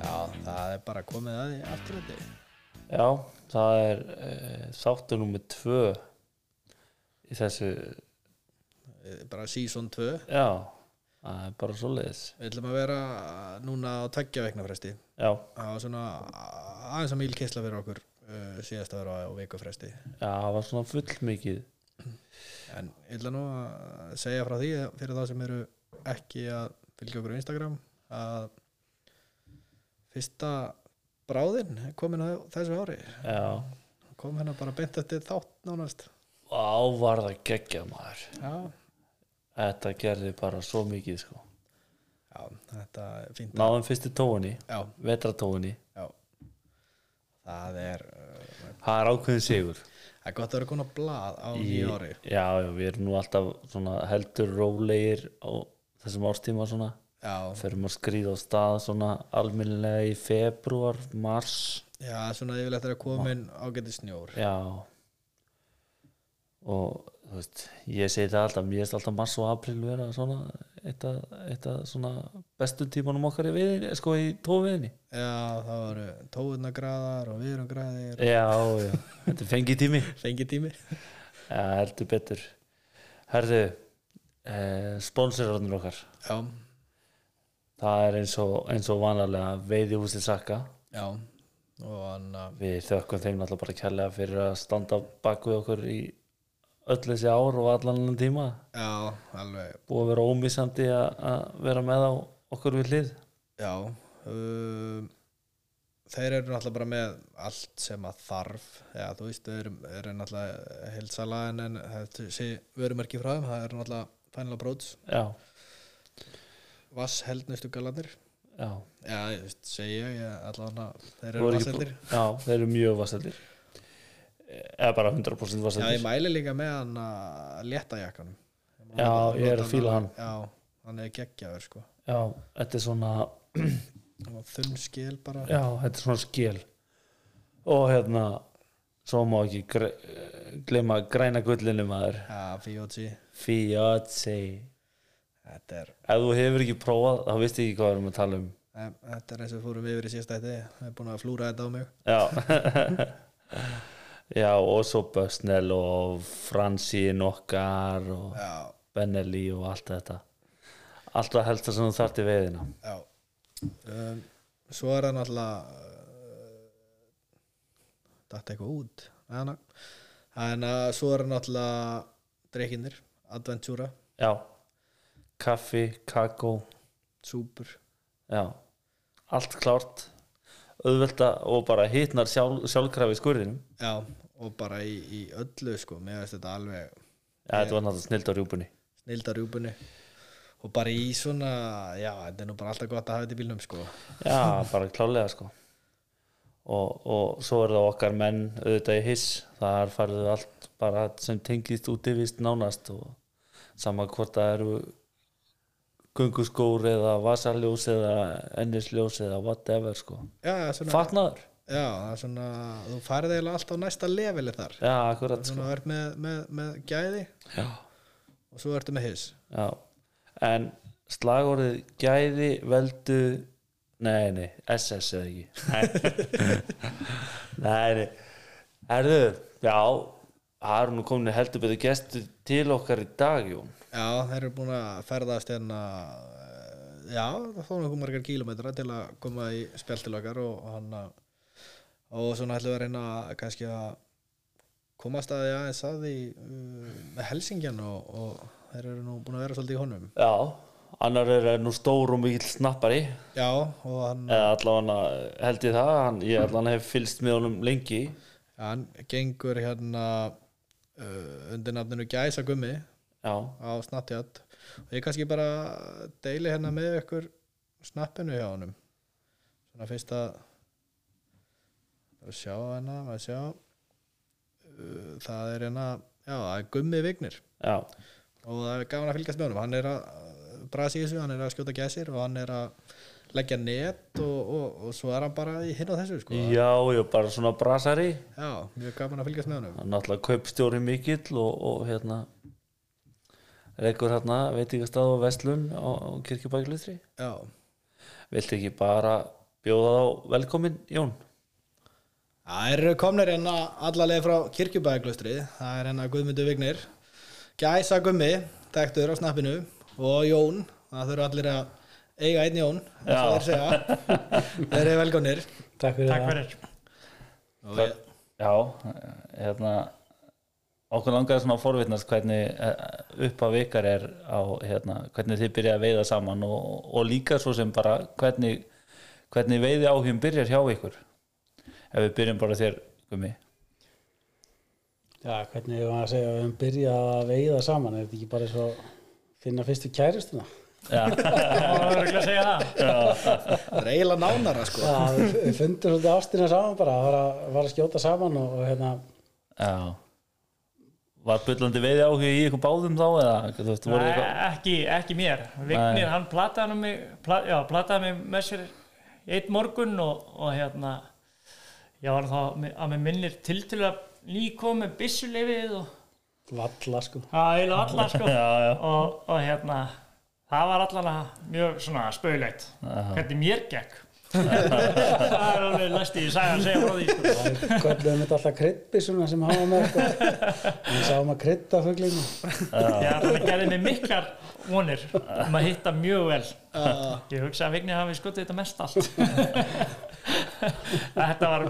það er bara komið að því aftur þetta Já, það er e, þáttur nummer tvö í þessu, Þetta er bara season 2 já, það er bara svoleiðis. við ætlum að vera núna á tveggja vegna fresti Já, það var svona aðeins að mýl kysla fyrir okkur uh, síðast ára á viku fresti já, það var svona fullmikið. en ég ætla nú að segja frá því fyrir það sem eru ekki að fylgja okkur á Instagram að fyrsta bráðin er komin á þessu ári Já, kom hérna bara beint eftir þátt nánast á var það geggjað maður. já, Þetta gerði bara svo mikið, sko. já þetta er fínt að- Náðum fyrstu tóinni, já, vetratóinni, já það er uh, það er ákveðin sigur. það er gott að vera komin á blað á nýju ári Já, já, við erum nú alltaf svona heldur rólegir á þessum árstíma svona. já, Förum að skrýða á stað svona alminnilega í februar, mars. já, svona yfirleitt er að komin ágæti snjór Já og þú veist, ég segi það alltaf mér erst alltaf mars og april vera svona eitt af eitt af svona bestu tímanum okkar í viðinni, sko í tófiðinni já, það voru tóðunagraðar og viðrumgraðir Já, já, þetta er fengið tími fengið tími Já, heldur betur Herðu, eh, sponsorarnir okkar já, það er eins og, eins og vanalega veiði húsið sakka já og hann að við þökkum þeim náttúrulega bara kærlega fyrir að standa bak við okkur í öll þessi ár og allan annan tíma Já, alveg, búið að vera ómissandi að að vera með á okkur við hlið já um, Þeir eru náttúrulega bara með allt sem að þarf Já, þú veist, þeir eru, eru náttúrulega heilsala en, en þetta sé vörumarki frá þeim, það eru náttúrulega Final Broads, já, Vass heldnustu galandir já, Já, ég veist, segi ég, ég allavega þeir Þú eru er ekki vasseldir já þeir eru mjög vasseldir eða bara 100% Já, ég vasseldir mæli líka með hann að létta jakkanum Já, ég er að fíla hann. Já, hann er geggjaður sko já, þetta er svona Hann var Þunn skil bara já, þetta er svona skil og hérna svo má ekki gre gleyma græna gullinu maður Já, Fioci, Fiatsi þetta er ef þú hefur ekki prófað þá veist ekki hvað við erum að tala um Nei, Þetta er eins og við fórum yfir í síðasta þetta Það er búin að flúra þetta á mig já já, og svo Bösnel og Fransín okkar og Já, Benelli og allt þetta allt það helsta sem þú þarft í veiðina já um, Svo er það náttúrulega uh, Datt eitthvað út Þannig Þannig að uh, svo er það náttúrulega Dreikinnir, Adventura, já, kaffi, kakó Súpur já, allt klárt auðvelda og bara hitnar sjálf, sjálfkrafi í skurðinum Já, og bara í, í öllu sko Mér veist þetta alveg já, þetta var náttúrulega snild á rjúpunni snildarjúbunni Og bara í svona Já, þetta er nú bara alltaf gott að hafa þetta í bílnum sko já, bara klálega sko og, og svo er það okkar menn auðvitað í hiss, þar færðu allt bara sem tengist útivist nánast og sama hvort það eru gunguskór eða vasaljós eða ennisljós eða whatever sko Já, svona fatnaður Já, það er svona, þú færði eiginlega allt á næsta leveli þar já, akkurat sko. svona ert með, með, með gæði já. og svo ertu með hiss Já. en slagorðið gæði veldu nei, nei, SS eða ekki nei, nei, nei. herðu já, það eru nú komin heldur betur gestu til okkar í dag Jón. já, þeir eru búin að ferðast hérna eh, já, það fórum okkur margar kílómetra til að koma í spjall til okkar og hann að- og svona ætlum við að reyna að- kannski að komast að því aðeins að því uh, með Helsingjan og, og þeir eru nú búin að vera svolítið í honum já, annar er nú stór og mikill snappari já, og hann, eða allavega held ég það hann, ég allavega hef fylst með honum lengi hann gengur hérna uh, undir nafninu Gæsa Gummi já, á Snapchat og ég kannski bara deili hérna með ykkur snappinu hjá honum svona fyrst að bara sjá hérna maður sjá Uh, það er hérna, já, það er gummi vignir já, og það er gaman að fylgjast með honum hann er að brasi í þessu, hann er að skjóta gæsir og hann er að leggja net og, og, og svo er hann bara í hinn á þessu sko. já, ég bara svona brasari já, mjög gaman að fylgjast með honum hann er náttúrulega kaupstjóri mikill og, og hérna reikur hérna veitingastað og vestlun á, á kirkjubæklutri já, viltu ekki bara bjóða þá velkomin Jón Það eru komnir hérna allarlega frá kirkjubæðaglustri það er hérna Guðmundur Vignir Gæsa Gummi, þekktur á snappinu og Jón, það þurfa allir að eiga einn Jón, eins og Já. þeir segja þeir eru velkomnir Takk fyrir Takk það. fyrir og ég, Já, hérna okkur langaði svona að forvitnast hvernig upp að vikar er á hérna, hvernig þið byrja að veiða saman og, og líka svo sem bara hvernig, hvernig veiði áhugum byrjar hjá ykkur ef við byrjum bara þér Gumi Já, hvernig hefur maður að segja, við höfum byrjað að veiða saman, er þetta ekki bara svo finna fyrstu kæristuna? Já, Það var örgulega að segja það það er eiginlega nánara sko Já, við við fundum svolítið ástina saman bara, var að, var að skjóta saman og, og hérna, já Var byllandi veiði áhugi í ykkur báðum þá eða þú veist, voru Nei, eitthvað ekki, ekki mér Vignir, hann plataði nú mig pla, já, plataði mig með sér eitt morgun og, og hérna ég var þá að með minnir til til að líkom með byssulefið og valla sko. það eiginlega allar sko Og, og hérna það var allan að mjög svona spauðlegt hvernig mér gekk það er alveg læst í sæðan segja frá því sko. Það er köllum þetta alltaf kryddbissuna sem hafa með sko. Við sáum að krydda fuglinu. Já, það gerði mig miklar vonir um að hitta mjög vel Ah, Ég hugsa að Vignir hafi skotið þetta mest allt Þetta var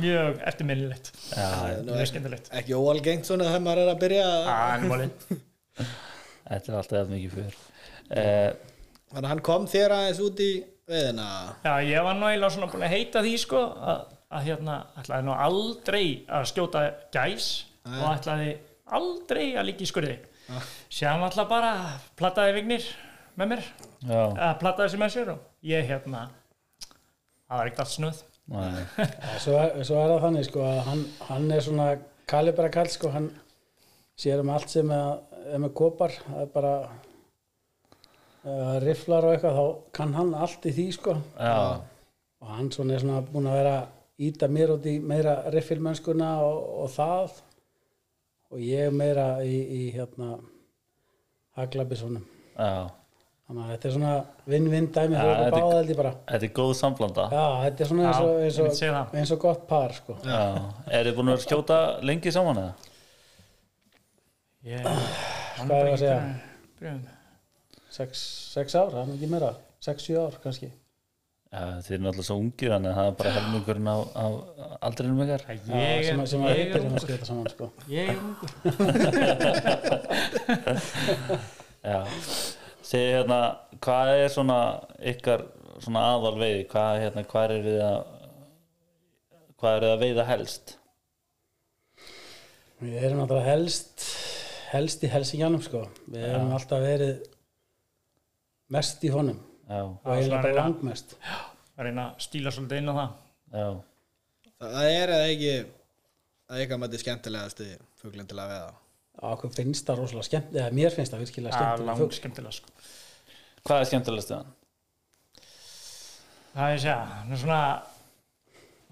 mjög eftirminnilegt Það er nú Mjög ekki, skemmtilegt ekki óalgengt svona þegar maður er að byrja Ah. Ah, Ánmálin Þetta er alltaf eða mikið fyrir eh, þannig að hann kom þér aðeins út í veðina Já, ég var nú eiginlega svona búin að heita því sko að, að hérna ætlaði nú aldrei að skjóta gæs og ætlaði aldrei að líka í skurði Ah. Sér alltaf bara plattaði Vignir með mér Ah. Já, að plattaði sem með sér og ég hérna það var ekkert allt snuð nei Já, Svo, er- svo er það þannig sko að hann, hann er svona kalibra kall sko, hann sér um allt sem er, er með kopar, það er bara uh, rifflar og eitthvað, þá kann hann allt í því sko Já, og hann svona er svona búin að vera að íta mér út í meira riffilmennskuna og, og það og ég meira í, í hérna haglabisónum. já Þannig að þetta er svona vinn-vinn dæmi Já, fyrir okkur þetta er- báða held ég bara. Þetta er góð samblanda Já, þetta er svona eins Já, og, ég myndi eins segja og, það. eins og gott par sko. Já, er þið búin að vera að skjóta lengi saman eða? Ég Ah. Hvað er það að segja? Brjum. sex, sex ár, það er nú ekki meira sex, sjö ár kannski Já, þið eru náttúrulega svo ungir þannig að það er bara helmingurinn á, á aldrinum ykkar Ég Já, sem, er, að- sem að ég við er byrjum að ungur skjóta saman sko. Ég er ungur Já, þið hérna, hvað er svona ykkar svona aðal veiði, hvað, hérna, hvað er við að hvað er þið að veiða helst? við erum náttúrulega helst helst í helsingjanum sko. við erum alltaf verið mest í honum Já, og eiginlega svona bara reyna. langmest að reyna að stíla svolítið inn á það já, það er eða ekki að eitthvað maður skemmtilegast í fuglinn til að veða og okkur finnst það rosalega skemmt eða mér finnst það virkilega að skemmt langt skemmtilega sko. hvað er skemmtilegast við hann? það er að segja, hann er svona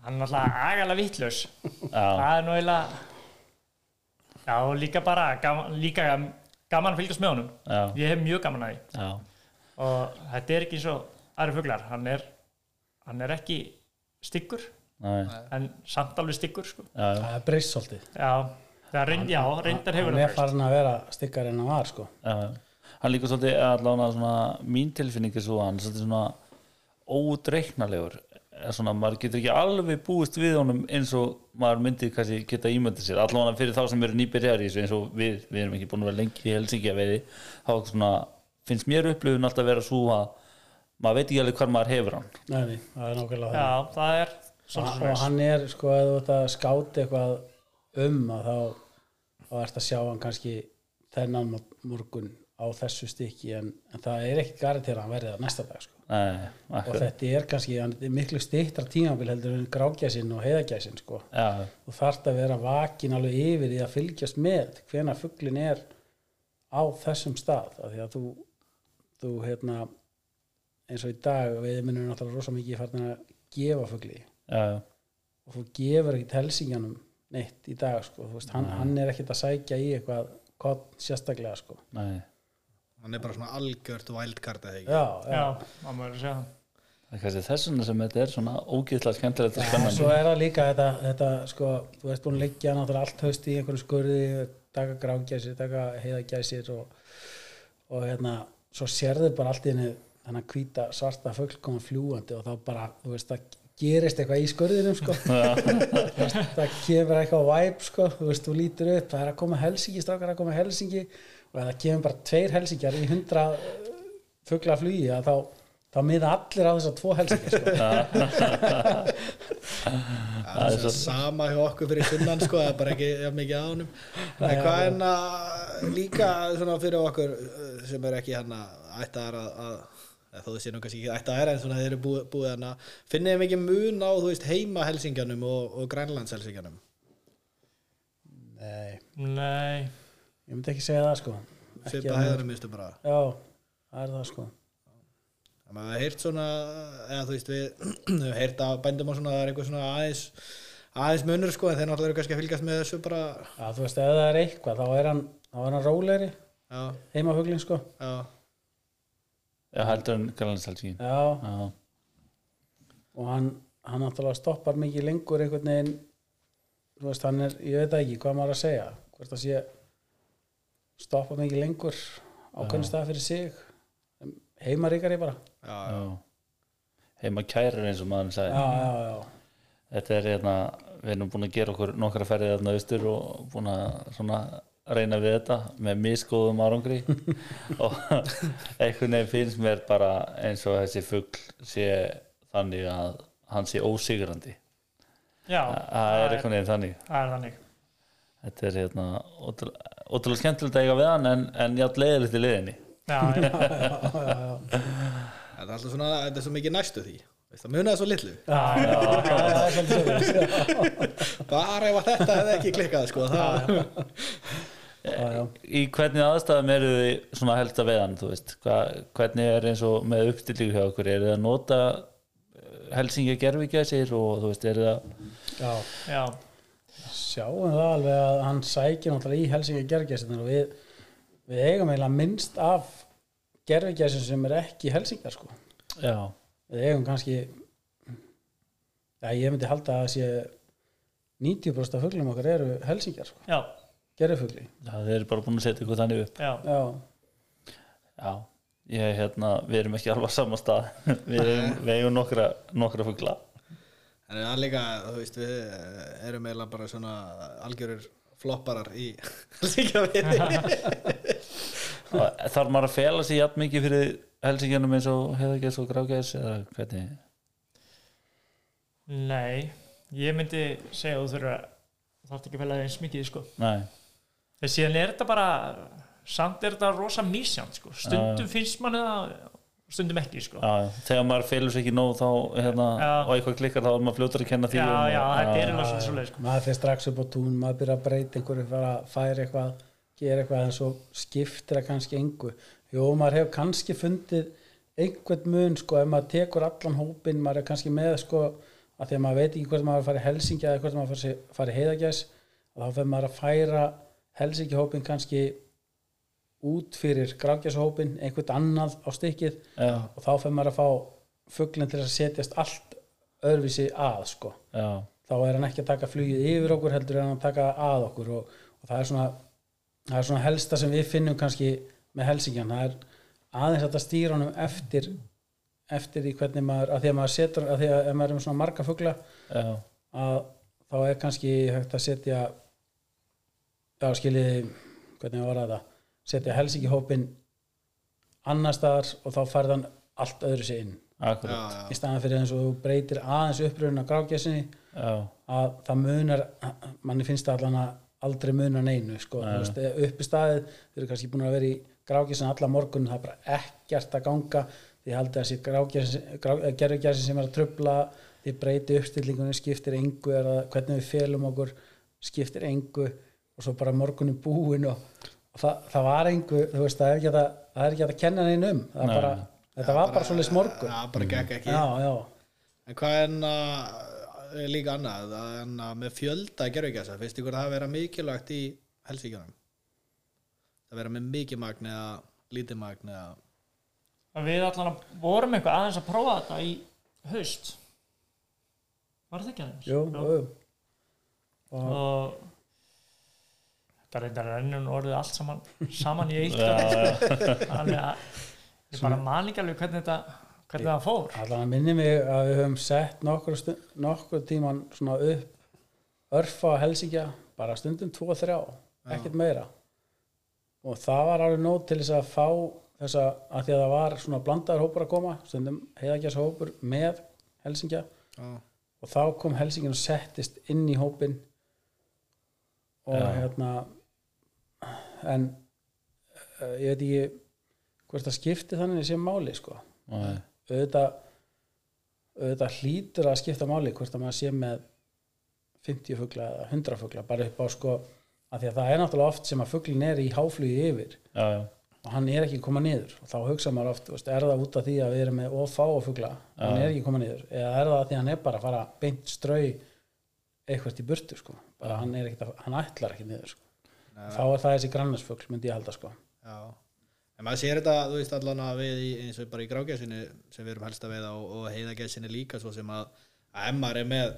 hann er alltaf agalega vittlaus Já, það er nú eiginlega já, og líka bara gaman, líka gaman að fylgjast með honum já, ég hef mjög gaman að því já, og þetta er ekki eins og aðri fuglar hann er, hann er ekki styggur næ, en samt alveg styggur sko. já, já, það er breyst svolítið já, það er reynd, já, reyndar hefur hann er það breyst. farin að vera stykkar en hann var sko. já. Hann líka svolítið allavega svona mín tilfinning er svo að hann er svolítið svona ódreiknalegur Eða svona, maður getur ekki alveg búist við honum eins og maður myndi kannski geta ímyndið sér allavega fyrir þá sem eru nýbyrjar í þessu eins og við, við erum ekki búin að vera lengi í Helsingi að veiði þá svona, finnst mér upplifun alltaf að vera svo að maður veit ekki alveg hvar maður hefur hann Nei, nei, það er nákvæmlega það já, það er og, svolítið og hann er sko að þú ert að skáta eitthvað um að þá, þá ert að sjá hann kannski þennan mo- morgun á þessu stykki en, en það er ekki garið til að hann verði það næsta dag sko. Nei, og akkur, þetta er kannski hann er miklu stýttra tímabil heldur en grákjæsinn og heiðakjæsinn sko. já, og þarft að vera vakin alveg yfir í að fylgjast með hvena fugglin er á þessum stað af því að þú, þú hérna, eins og í dag við minnum náttúrulega rosa mikið farin að gefa fuggli já, já, og þú gefur ekkert helsingjanum neitt í dag sko, þú veist, hann, hann er ekkert að sækja í eitthvað kott sérstaklega sko. nei hann er bara svona algjört wildcard eða ekki já, já, já, það má verið að segja það Það er kannski þess vegna sem þetta er svona ógeðslega skemmtilegt og En spennandi svo er það líka þetta, þetta sko, þú ert búin að liggja náttúrulega allt haust í einhverju skurði, taka grángæsir, taka heiðagæsir og, og hérna, svo sérðu bara allt í henni þannig að hvíta svarta fugl koma fljúandi og þá bara, þú veist, það gerist eitthvað í skurðinum, sko Þú veist, það kemur eitthvað væp, sko þú veist, þú lítur upp, það er að koma Helsingi strákar að koma Helsingi og það kemur bara tveir Helsingjar í hundra fugla flugi að þá, þá miða allir á þess að tvo Helsingjar, sko það er svo sama hjá okkur fyrir sunnan sko, það er bara ekki ja, mikið á honum en hvað er hérna líka svona fyrir okkur eh, sem er ekki hérna ættaðar að, að eða þó þið séu nú kannski ekki ættaðar en svona þeir eru búið, búið hérna finnið þið mikið mun á þú veist heima helsingjanum og, og grænlands helsingjanum Nei, Nei, ég myndi ekki segja það sko Ekki svipa að- hæðanum minnstu bara Já, það er það sko Ef maður hefði heyrt svona eða þú veist við hefði heyrt að bændum á svona það er eitthvað svona aðeins aðeins munur sko en þeir náttúrulega eru kannski að fylgjast með þessu bara Já, þú veist, ef það er eitthvað, þá er hann þá er hann rólegri, já, heimafuglin sko já, Já, heldur en Grænlandshelgin Já, Já, og hann hann náttúrulega stoppar mikið lengur einhvern veginn þú veist, hann er, ég veit það ekki hvað maður að segja hvort það sé stoppar mikið lengur ákveðin stað fyrir sig heimaríkari bara já, já. já Heima kærir eins og maðurinn sagði Já, já, já, Þetta er hérna, við erum búin að gera okkur nokkra ferðið þarna austur og búin að svona reyna við þetta með misgóðum árangri og einhvern veginn finnst mér bara eins og þessi fugl sé þannig að hann sé ósigrandi já það er einhvern veginn þannig það er þannig þetta er hérna ótrú- ótrúlega skemmtilegt að eiga við hann en, en játt leiðilegt í leiðinni Já, já, já, já, já. Þetta er alltaf svona, þetta er svo mikið næstu því Veist, Það munaði svo litlu já, já. Það er svolítið svoleiðis. Bara ef að þetta hefði ekki klikkað sko, það, Já, já. í hvernig aðstæðum eru þið svona helst að veiðan, þú veist Hva, hvernig er eins og með uppstillingu hjá okkur eru þið að nota Helsingi gerfigæsir og þú veist eru það já. já. sjáum það alveg að hann sækir náttúrulega í Helsingi gerðgæsirnar og við, við eigum eiginlega minnst af gerðgæsir sem er ekki Helsingar sko. já, við eigum kannski já, ég myndi halda að það sé 90% af fuglum okkar eru Helsingar sko. já, gerðfugli já þið eru bara búin að setja ykkur þannig upp já. já, já, ég hérna við erum ekki alveg á sama stað við erum, við eigum nokkra, nokkra fugla En það er líka, þú veist, við erum eiginlega bara svona algjörir flopparar í Helsingjavíði þarf maður að fela sig jafn mikið fyrir Helsingjunum eins og heiðagæs og grágæs eða hvernig Nei, ég myndi segja að þú þurfa þú þarft ekki að fæla eins mikið sko. nei, en síðan er þetta bara samt er þetta rosa misjant sko. stundum finnst manni það stundum ekki sko. já, þegar maður felur sig ekki nóg þá hérna, Já. og eitthvað klikkar þá er maður fljótur að kenna því já, um og- já, þetta er alveg svolítið svolítið sko. maður fyrir strax upp á tún maður byrja að breyta einhverju fara að færa eitthvað gera eitthvað en svo skiptir það kannski engu jú, maður hefur kannski fundið einhvern mun sko ef maður tekur allan hópin maður er kannski með sko að því að maður veit ekki hvort maður fari helsingja eða hvort maður fari, fari heiðagjæs og þá fyrir maður að færa helsingja hópin kannski út fyrir grákjæshópin einhvern annað á stykkið já, og þá fyrir maður að fá fuglinn til að setjast allt öðruvísi að sko já, þá er hann ekki að taka flugið yfir okkur heldur en að taka að okkur og, og það er svona það er svona helsta sem við finnum kannski með helsingjan það er aðeins hægt að stýra honum eftir eftir í hvernig maður að því að maður setur, að því að ef maður er með svona marga fugla já, að þá er kannski hægt að setja já skiljiði hvernig ég orða það setja helsingi hópin annar staðar og þá færði hann allt öðru sér inn Já, akkurat já, í staðan fyrir eins og þú breytir aðeins uppröðun á grákjessinni já, að það munar manni finnst það allan að aldrei muna neinu sko, þú veist, uppi staðið þau eru kannski búin að vera í grákjessin alla morgun það er bara ekkert að ganga því haldið að þessi gerðugjæssin sem er að trubla því breyti uppstillingunni skiptir engu er að, hvernig við felum okkur skiptir engu og svo bara morgunin búin og, og það, það var engu þú veist, það er ekki hægt að, það er ekki hægt að kenna neinu um það er bara, þetta var bara svolítið morgun það bara gekk ekki já, já, En hvað er hérna eh, líka annað Það er hérna með fjölda gerfugæsa Finnst ykkur það að vera mikilvægt í Helsingjanum Það vera með mikið magn eða lítið magn eða Að við allan að vorum eitthvað aðeins að prófa þetta í haust var það ekki aðeins Jú, jú. og og þetta reyndar rennun orðið allt saman saman í eitt sko. þannig að ég bara man ekki alveg hvernig þetta hvernig það fór allan að minni mig að við höfum sett nokkur, nokkur tíman svona upp örfa að helsingja bara stundum 2-3 ekkert meira og það var alveg nót til þess að fá þessa að því að það var svona blandaður hópur að koma stundum heiðagjast hópur með helsingja já, og þá kom helsingin og settist inn í hópin og hérna en uh, ég veit ekki hvort það skipti þannig sem máli sko Nei. auðvitað auðvitað hlýtur að skipta máli hvort að maður sé með 50 fugla eða 100 fugla bara upp á sko að því að það er náttúrulega oft sem að fuglin er í háflugi yfir já, já, og hann er ekki að koma niður og þá hugsa maður oft, veist, er það út af því að við erum með ofá og fugla, hann er ekki að koma niður eða er það af því að hann er bara að fara beint strau eitthvað í burtu sko. bara hann, er ekkit að, hann ætlar ekki niður sko. þá er það þessi grannarsfugl myndi ég halda sko. já en maður sér þetta, þú veist allan að við í, eins og bara í grágæsinu sem við erum helst að veiða og, og heiðagæsinu líka svo sem að að ef maður er með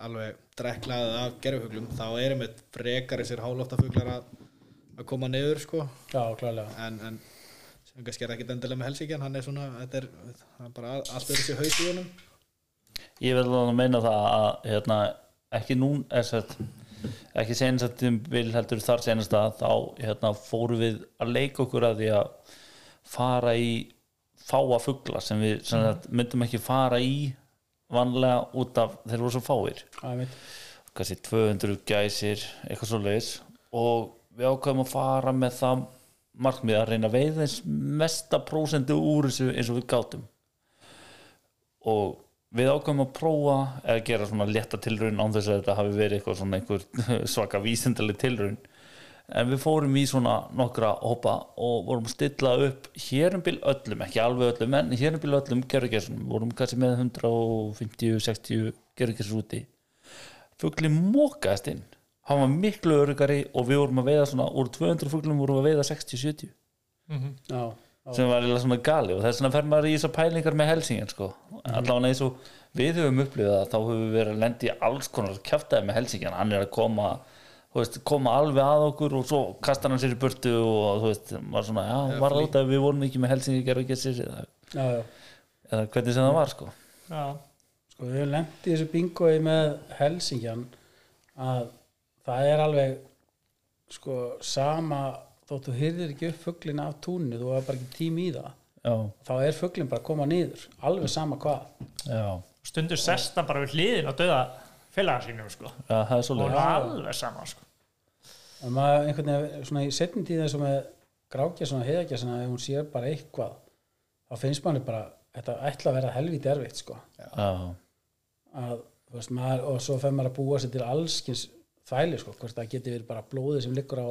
alveg drekklaðið af gerfuglum þá erum við frekar þessir hálóftafuglar að, að koma niður sko já, klálega en, en sem kannski er ekkit endilega með helsíkjan hann er svona, þetta er, hann er bara allt er þessi haus í honum ég vil alveg meina það að hérna, ekki núna er, sagt, ekki senast vil heldur þar senast að þá hérna, fórum við að leika okkur að því að fara í fáa fugla sem við sem sagt, myndum ekki fara í vanlega út af þeir voru svo fáir að, kannski 200 gæsir eitthvað svo leiðis og við ákveðum að fara með það markmið að reyna að veiða eins mesta prósendu úr þessu eins og við gátum og við ákveðum að prófa eða gera svona létta tilraun án þess að þetta hafi verið eitthvað svona einhver svaka vísindaleg tilraun en við fórum í svona nokkra hópa og vorum að stilla upp hér um bíl öllum, ekki alveg öllum en hér um bíl öllum gerðurgerðsum, vorum kannski með 150-60 gerðurgerðsur úti fuglin mókaðist inn hann var miklu örugari og við vorum að veiða svona úr 200 fuglum vorum við að veiða 60-70 já, sem var eiginlega svona gali og þess vegna fer maður í þessar pælingar með helsingin sko. allavega eins og við höfum upplifað það þá höfum við verið að lendi í alls konar kjaftaði með helsingin, hann er að koma þú veist, koma alveg að okkur og svo kastar hann sér í burtu og þú veist var svona, já, var það út að við vorum ekki með helsingin gerðu ekki sér eða, já, já. eða hvernig sem það var sko já, Sko við höfum lent í þessu bingoi með Helsingjan að það er alveg sko sama þótt þú hyrðir ekki upp fuglina af túninu þú hefur bara ekki tím í það já, þá er fuglin bara að koma niður alveg sama hvað já, stundur sest hann bara við hliðin og döða félagar sínum sko. já það er og svolítið það var alveg sama sko. en maður einhvern veginn svona í setjum tíð eins og með grákjasuna heiðakjasuna ef hún sér bara eitthvað þá finnst manni bara þetta ætla að vera helvítið erfitt sko já, að, þú veist, maður, og svo fer maður að búa sér til allskins þvæli sko, hvort það geti verið bara blóðið sem liggur á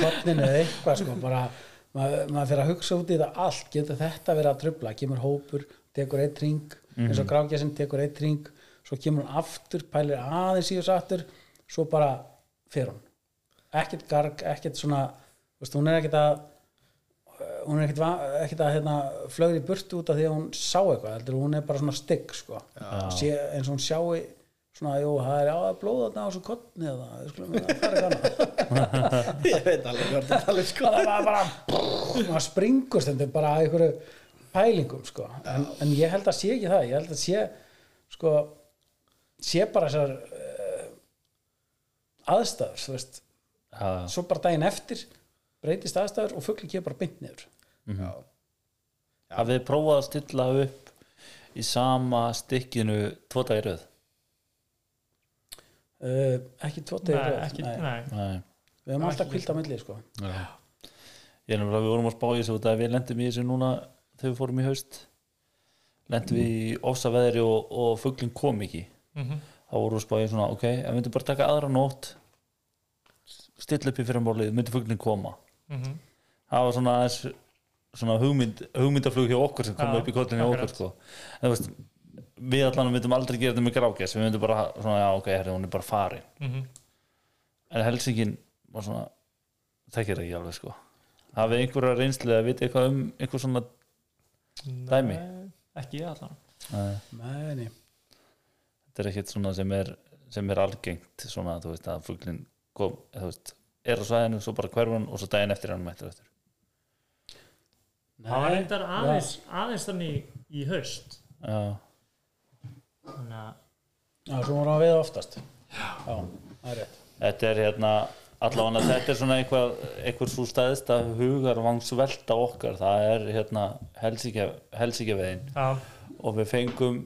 kottninu eða eitthvað sko, bara maður, maður fyrir að hugsa út í þetta allt getur þetta verið að trubla, kemur hópur tekur eitt ring, eins og grákjæsinn tekur eitt ring, svo kemur hún aftur pælir aðeins í þessu aftur svo bara fer hún ekkert garg, ekkert svona þú veist, hún er ekkert að hún er ekkert, va- ekkert að hérna, flögri burt út af því að hún sá eitthvað heldur, hún er bara svona stygg sko. sé, eins og hún sjái svona, jú, það er á að blóða þetta á svo kottni eða, við skulum, það er gana ég veit alveg hvað þetta alveg sko það var bara, maður springur stundum bara að einhverju pælingum sko. en, en ég held að sé ekki það ég held að sé sko, sé bara þessar uh, aðstæður þú veist, já, svo bara daginn eftir breytist aðstæður og fugli kemur bara beint niður já, að við prófaði að stilla upp í sama stykkinu tvo dagir röð Uh, ekki tvo nei, tegir röð ekki, nei. nei. Nei. við höfum alltaf kvilt á milli sko. ég er nefnilega við vorum að spá í þessu út að við lendum í þessu núna þegar við fórum í haust lendum við í ofsaveðri og, og fuglinn kom ekki Mhm, þá vorum við að spá í svona ok, en myndum bara taka aðra nótt stilla upp í fyrramálið myndi fuglinn koma mhm, það var svona aðeins svona hugmynd, hugmyndaflug hjá okkur sem kom Já, upp í kollinu hjá okkur akkurat. sko. en þú veist við allan myndum aldrei gera þetta með grákjæs við myndum bara, svona, já ok, herri, hún er bara farin mhm. en Helsingin var svona þekkir ekki alveg sko hafið einhverja reynslu að vita eitthvað um einhver svona dæmi ekki allan Nei. Nei, nei. þetta er ekkert svona sem er, sem er algengt svona þú veist að fuglinn kom eða, þú veist, er á svæðinu, svo bara hverfur hann og svo daginn eftir er hann mættur eftir það var Nei, reyndar aðeins, aðeins þannig í haust já, þannig að Já, svo vorum að veiða oftast Já, það er rétt þetta er hérna allavega þetta er svona eitthvað, eitthvað svo stæðist að hugar vangsvelta okkar það er hérna helsíkjavegin já, og við fengum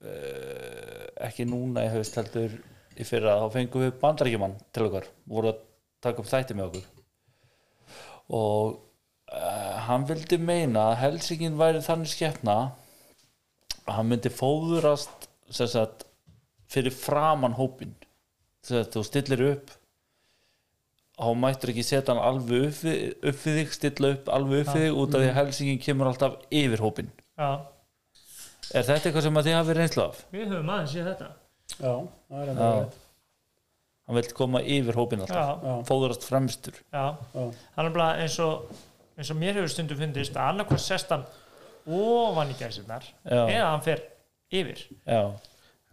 uh, ekki núna í haust heldur í fyrra þá fengum við bandarækjumann til okkar voru að taka upp þætti með okkur og uh, hann vildi meina að helsingin væri þannig skepna að hann myndi fóðurast sem sagt fyrir framan hópin sem sagt þú stillir upp þá mættur ekki setja hann alveg upp við, upp við þig, stilla upp alveg upp við þig út af því að helsingin kemur alltaf yfir hópin já, Er þetta eitthvað sem að þið hafið reynslu af? við höfum aðeins séð þetta Já, það er enda Já. rétt Hann vilt koma yfir hópin alltaf, já, fóðurast fremstur. já Já, það er bara eins og eins og mér hefur stundum fundist að annarkvæð sest hann ofan í gæsinnar Já. eða hann fer yfir Já,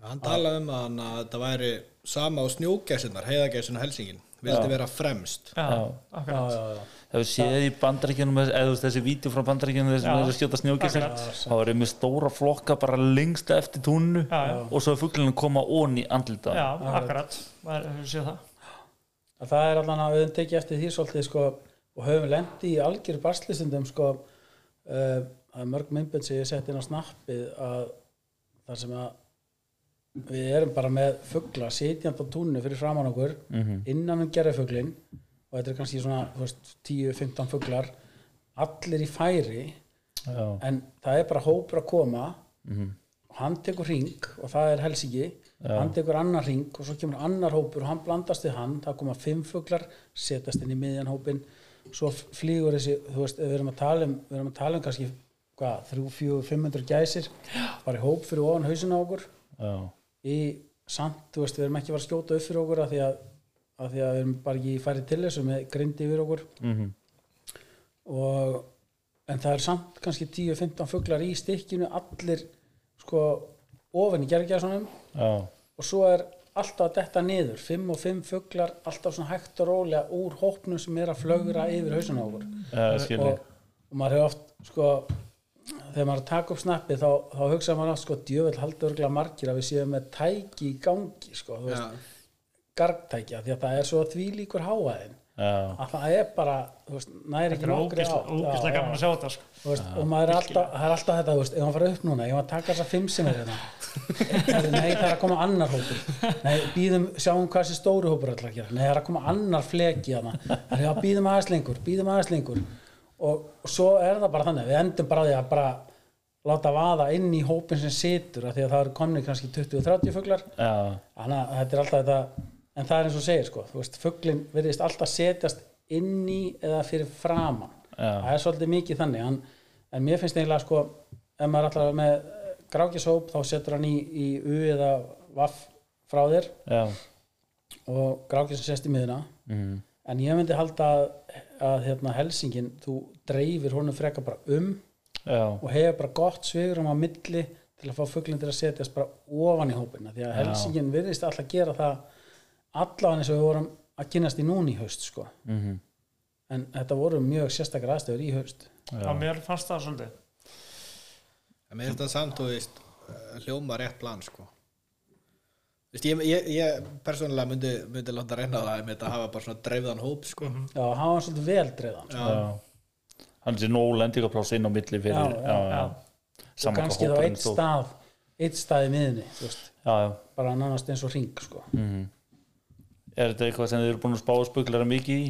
Hann talaði um að, hann, að þetta væri sama á snjógæsinnar, heiðagæsinn og helsingin vildi vera fremst já, Já. já, akkurat já, já. hefur séð í bandaríkjunum eða þú veist, þessi vídeo frá bandaríkjunum þessum Já. er að skjóta snjókisar Akkurat. þá er ég með stóra flokka bara lengst eftir túnnu já, já, og svo er fuglunum koma ón í andlita já, akkurat maður hefur séð það Að Það er allan að við höfum tekið eftir því svolítið sko, og höfum lendi í algjör barslýsindum sko, uh, að mörg myndbönd sem ég sett inn á snappið að þar sem að við erum bara með fugla sitjandi á túninu fyrir framann okkur innan um gerðufuglin og þetta er kannski svona þú veist, 10-15 fuglar allir í færi Já. en það er bara hópur að koma og hann tekur ring og það er Helsingi hann tekur annar ring og svo kemur annar hópur og hann blandast við hann, það koma fimm fuglar setast inn í miðjan hópin svo f- flýgur þessi, þú veist, ef við erum að tala um við erum að tala um kannski hvað, 3, 4, 500 gæsir bara í hóp fyrir ofan hausinu á okkur Já. í samt, þú veist, við erum ekki að fara að skjóta upp fyrir okkur af því að, af því að við erum bara ekki færið til þessu með grindi yfir okkur Mhm. og en það er samt kannski 10-15 fuglar í stykkinu, allir sko ofan í gergjæðsonum Já. og svo er alltaf að detta niður, 5 og 5 fuglar alltaf svona hægt og rólega úr hópnum sem er að flögra yfir hausinu á okkur Já, skil ég. og, og maður hefur oft sko, þegar maður er að taka upp snappi þá, þá hugsa maður oft sko, djöfell haldur örgla margir að við séum með tæki í gangi sko, þú veist, Já. gargtækja því að það er svo þvílíkur háaðin Já. að það er bara, þú veist, næri þetta ekki er nokkri ógeðslega- átt. Já, ógeðslega já. gaman að sjá þetta sko. Þú veist, og maður er alltaf, það er alltaf þetta þú veist, ef hann fara upp núna, ég var að taka þessa fimm sem er hérna Herðu, nei, það er að koma annar hópur nei, býðum, sjáum hvað þessi stóri hópur ætlar að gera, nei, það er að koma annar fleki hérna, það er að býðum aðeins lengur býðum aðeins lengur og, og svo er það bara þannig, við endum bara á því að bara láta vaða inn í hópin sem situr, af því að það eru komni kannski 20-30 fuglar Já. Þannig að þetta er alltaf þetta, en það er eins og þú segir sko, þú veist, fugglinn virðist alltaf setjast inn í eða fyrir framan. Já. Það er svolítið mikið þannig, en, en mér finnst eiginlega sko, ef maður er alltaf með grákishóp, þá setur hann í, í U eða vaff frá þér Já. og grákis sest í miðuna. Mhm. En ég myndi halda að, að hérna, Helsingin, þú dreifir honum frekar bara um Já. og hefur bara gott svigurum á milli til að fá fugglinn til að setjast bara ofan í hópina því að Já. Helsingin virðist alltaf gera það allan eins og við vorum að kynast í núna í haust sko. Mhm. en þetta voru mjög sérstakar aðstöður í haust já, mér fannst það svolítið En mér finnst það samt, þú veist, eh, hljóma rétt plan, sko. Þú veist, ég, ég, ég persónulega myndi, myndi láta reyna á það með þetta að hafa bara svona dreifðan hóp, sko. já, hann var svolítið vel dreifðan sko. Já, Já. Hann sé nóg lendingapláss inn á milli fyrir Já, já, og Saman hvað kannski þá hópurinn eitt stóð. stað eitt stað í miðinni þú veist, Já, já. bara nánast eins og ring sko. Mm. Er þetta eitthvað sem þið eru búin að spá og spuglara mikið í?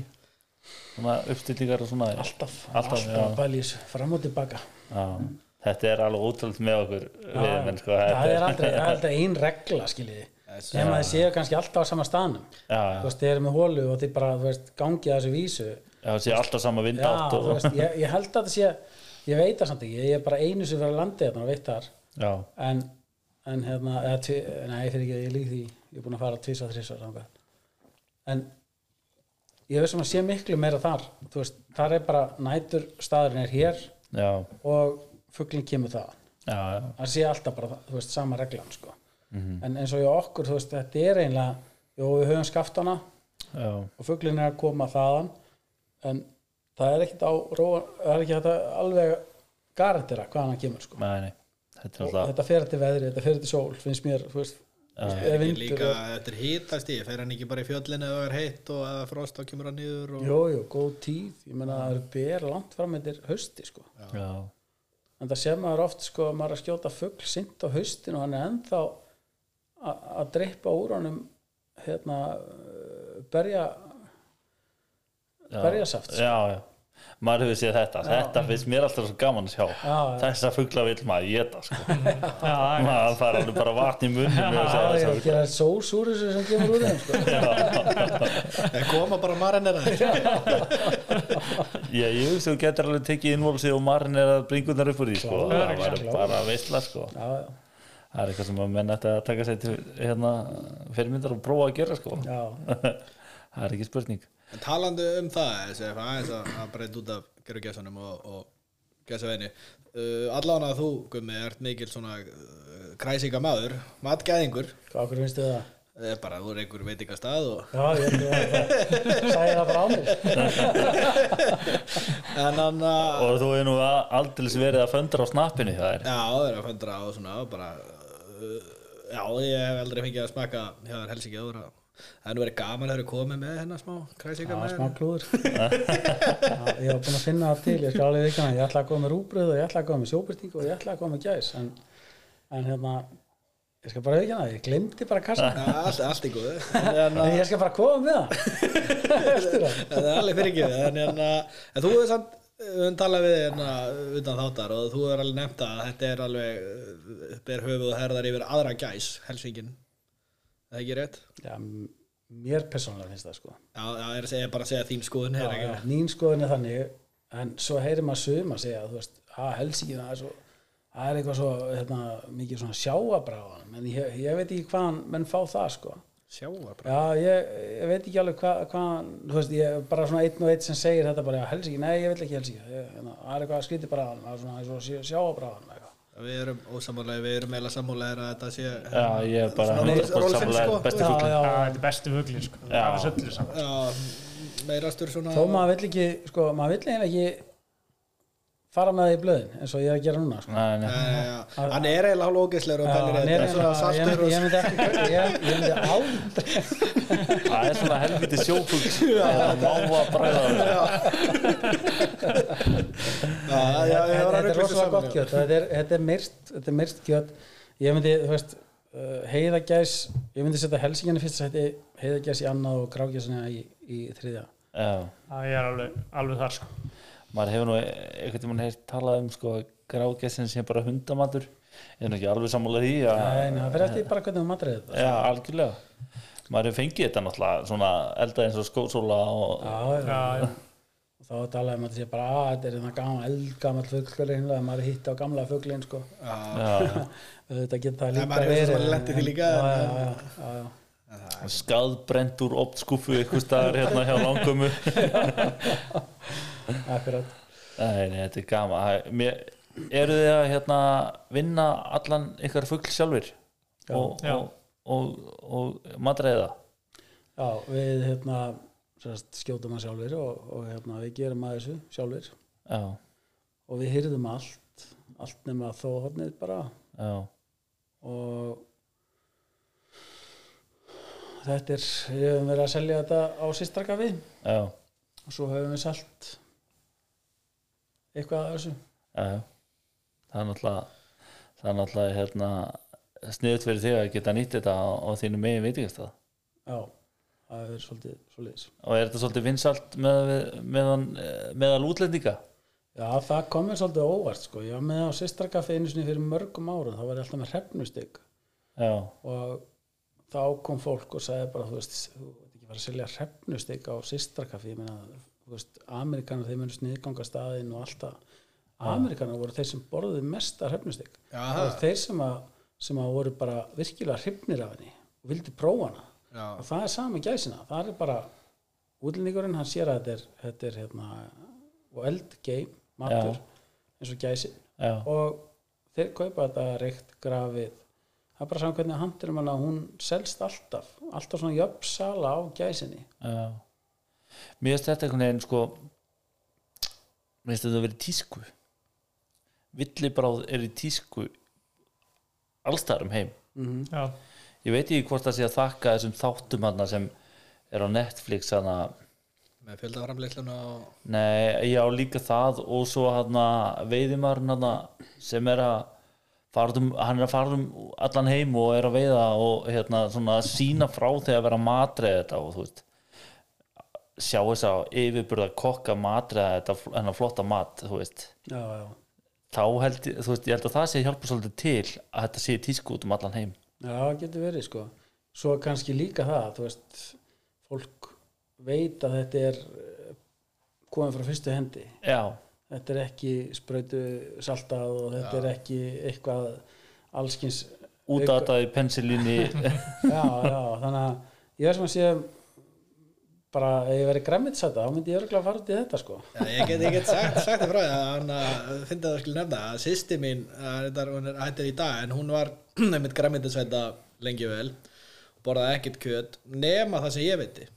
Svona uppstillingar og svona? alltaf, Alltaf, alltaf, já. alltaf bælís fram og tilbaka Já. Þetta er alveg ótrúld með okkur við, menn, sko, það þetta er aldrei, það er aldrei ein regla skiljiði, Yes. sem að þið séu kannski alltaf á sama staðnum Já, þú veist, þið eru með hólu og þið bara, þú veist, gangið að þessu vísu já, já, það sé alltaf sama vindátt þú og, veist, ég, ég held að það sé ég veit það samt ekki, ég er bara einu sem verið að landi þarna og veit þar já, en, en hérna, eða, tvi, nei, fyrir ekki, ég lík því ég er búin að fara tvisar, þrisar þangað. en ég veist sem að sé miklu meira þar þú veist, þar er bara nætur staðurinn er hér já, og fugglinn kemur það já, já, það sé alltaf bara, þú veist, sama reglan sko. en eins og hjá okkur, þú veist, þetta er einlega, jú, við höfum skaftana já, og fuglin er að koma þaðan en það er ekkit á róa, það er ekki þetta alveg garantera hvaðan hann kemur sko. mæni þetta er og alltaf þetta fer til veðri, þetta fer til sól finnst mér, þú veist, eða Ég vindur líka, og- þetta er hítast í, fer hann ekki bara í fjöllinu eða er heitt og eða frost þá kemur hann niður og... jú, jú, góð tíð ég meina, það eru ber langt fram eftir hausti sko. já, en það sem maður oft, sko, maður er að skjóta fugl sint á haustin og hann er ennþá a- að dreipa úr honum hérna eh, berja já. Berjasaft, sko. já, já maður hefur séð þetta, þetta finnst mér alltaf svo gaman að sjá, já. þessa fugla vil maður geta sko, já, maður fara alveg bara vatn í munni með þess að að þessa fugla gera sós úr þessu sem kemur úr þeim sko. En koma bara marinera já, ég hugsa þú getur alveg tekið innvolsi og marinn er að bringunar upp úr því sko, Klárlega, það væri klárlega. bara veistla sko já, já, það er eitthvað sem að menn ætti að taka sér til hérna, fyrirmyndar og prófa að gera sko já, það er ekki spurning En talandi um það, þessi ef aðeins að, að breyta út af Gerur Gessunum og, og Gessaveini uh, Allána þú, Gummi, ert mikil svona uh, kræsinga maður, matgæðingur hvað okkur finnst þið það? Eh, bara þú er einhver veitingastað og Já, ég held að það sæði það bara á mér en hann að og þú er nú a- aldeilis verið að föndra á snappinu það er já, það er að föndra og svona og bara uh, já, ég hef aldrei fengið að smaka hjá þér Helsingi áður að það er nú verið gaman að þeir komið með hennar smá kræsinga Já, með hérna. smá klúður Já, Ég var búin að finna það til, ég skal alveg ekki hana Ég ætla að koma með rúbröð og ég ætla að koma með sjóbyrtingu og ég ætla að koma með gæs en, en hérna, ég skal bara ekki hana Ég glemdi bara kassan allt, allt í góðu en, Nei, ég skal bara koma með það Eftir það það er alveg fyrir ekki en, en, að- en þú er samt við höfum talað við hérna utan þáttar og þú er alveg nefnt að þetta er alveg uh, ber höfuð og herðar yfir aðra gæs Helsingin, er það ekki rétt? Já, m- mér persónulega finnst það sko Já, já, ég er að segja bara að segja þín skoðun er ekki Já, mín skoðin er þannig en svo heyrir maður sögum að segja þú veist, að Helsingi það er svo það er eitthvað svo hérna, mikið svona sjáabráðan menn ég, ég veit ekki hvaðan menn fá það sko sjáa bara já, ég, ég veit ekki alveg hvað hvaðan, þú veist, ég er bara svona einn og einn sem segir þetta bara, já, Helsingi, nei, ég vil ekki Helsingi Ég- hérna, það er eitthvað að skrýti bara það er svona, það er svona sjáabráðan eitthvað Við erum ósammálega, við erum meðlega sammálega að þetta sé já, ég er bara Svona 100% Rolfsson, samlega sko. besti Já, fuglin já, þetta er bestu fuglin sko. Já. það var söllu saman já, meirastur svona þó maður vill ekki, sko, maður vill eiginlega ekki fara með það í blöðin eins og ég er að gera núna, sko Nei, nei. Já, já, já. Hann er eiginlega hálf ógeðslegur og Já, pælir hann í er þetta, svona eiginlega- saltur ég myndi- og ég myndi ekki- ég- ég myndi aldrei það er svona helviti sko, sjófugl eða máa bræða Já, já, þetta ég var að þetta er rugla þessu rosalega saman gott já. kjöt þetta er, þetta er myrkt, þetta er myrkt kjöt ég myndi, þú veist uh, heiðagæs, ég myndi setja helsinginu fyrst sætti heiðagæs í annað og grágæsina í, í þriðja já, það er alveg, alveg þar sko. maður hefur nú e, einhvern tímann heyrt talað um sko grágæssin sem bara hundamatur ég er nú ekki alveg sammála því að en það verður eftir bara hvernig þú matrið þetta Já, algjörlega maður hefur fengið þetta náttúrulega svona elda eins og skósóla og já, já. já, já. þá er þetta alveg að maður sé bara að þetta er hérna þetta gammal, eldgammal fugglurinn að hérna", maður hitti á gamla fugglinn sko. Já, já, þetta getur það Nei, líka maður hefur svo sem lent í því en- líka, já, en- já, já, já, já. skaðbrent úr optskúfu eitthvað staðar hérna hjá langömmu akkurat Nei, nei, þetta er gaman Æ, mér, Eru þið að hérna, vinna allan ykkar fugl sjálfur og, Já. og, og, og, matreiða Já, við hérna sérst, skjótum að sjálfur og, og hérna, við gerum að þessu sjálfur Já, og við hyrðum allt allt nema þóhornið bara já, og þetta er við höfum verið að selja þetta á sýstrakafi já, og svo höfum við selt eitthvað af þessu já Það er náttúrulega það er náttúrulega hérna sniðut fyrir þig að geta nýtt þetta á, á þínu megin veitingastað já, það er svolítið svolítið og er þetta svolítið vinsalt með, meðan, eh, meðal útlendinga já, það komið svolítið óvart sko. ég var með á sýstrakafi einu sinni fyrir mörgum árum þá var ég alltaf með hrefnustygg Já, og þá kom fólk og sagði bara þú veist, þú veit ekki bara að selja hrefnustygg á sýstrakafi, ég meina þú veist, Amerikanar þeir mennur sniðganga staðinn og alltaf, Amerikanar voru þeir sem borðuðu mest að hrefnustygg Já, það voru þeir sem að, sem að voru bara virkilega hrifnir af henni og vildi prófa hana já. og það er sama gæsina, það er bara útlendingurinn, hann sér að þetta er, þetta er hérna, og eldgeim matur, eins og gæsin já, og þeir kaupa þetta reykt grafið það er bara saman hvernig handinum hana hún selst alltaf, alltaf svona jöfn sala á gæsinni Já. Mér finnst þetta einhvern veginn sko mér finnst þetta að vera í tísku villibráð er í tísku allstarum heim já, ég veit ekki hvort það sé að þakka þessum þáttum hana sem er á Netflix hana, með fjöldaframleitluna og nei, já líka það og svo hana veiðimarinn hana sem er að farðum, hann er að fara um allan heim og er að veiða og hérna svona sína frá þegar að vera að matreða þetta og þú veist sjá þess að yfirburða kokka matreða þetta fl- þennan flotta mat þú veist já, já, þá held ég, þú veist, ég held að það sé hjálpa svolítið til að þetta sé í tísku út um allan heim já, getur verið sko svo kannski líka það, þú veist fólk veit að þetta er eh, komið frá fyrstu hendi já, þetta er ekki sprautu saltað og þetta er ekki eitthvað allskins út að þetta í pensilinni já, já, þannig að ég er sem að sé bara ef ég verið græmitsæta þá myndi ég örgulega fara út í þetta sko Já, ég get, ég get sagt, sagt það frá því að hann að finna það skil nefna að sýsti mín, að þetta er- hún er hættið í dag en hún var nefnt græmyndisvæta lengi vel og borðaði ekkert kjöt nema það sem ég viti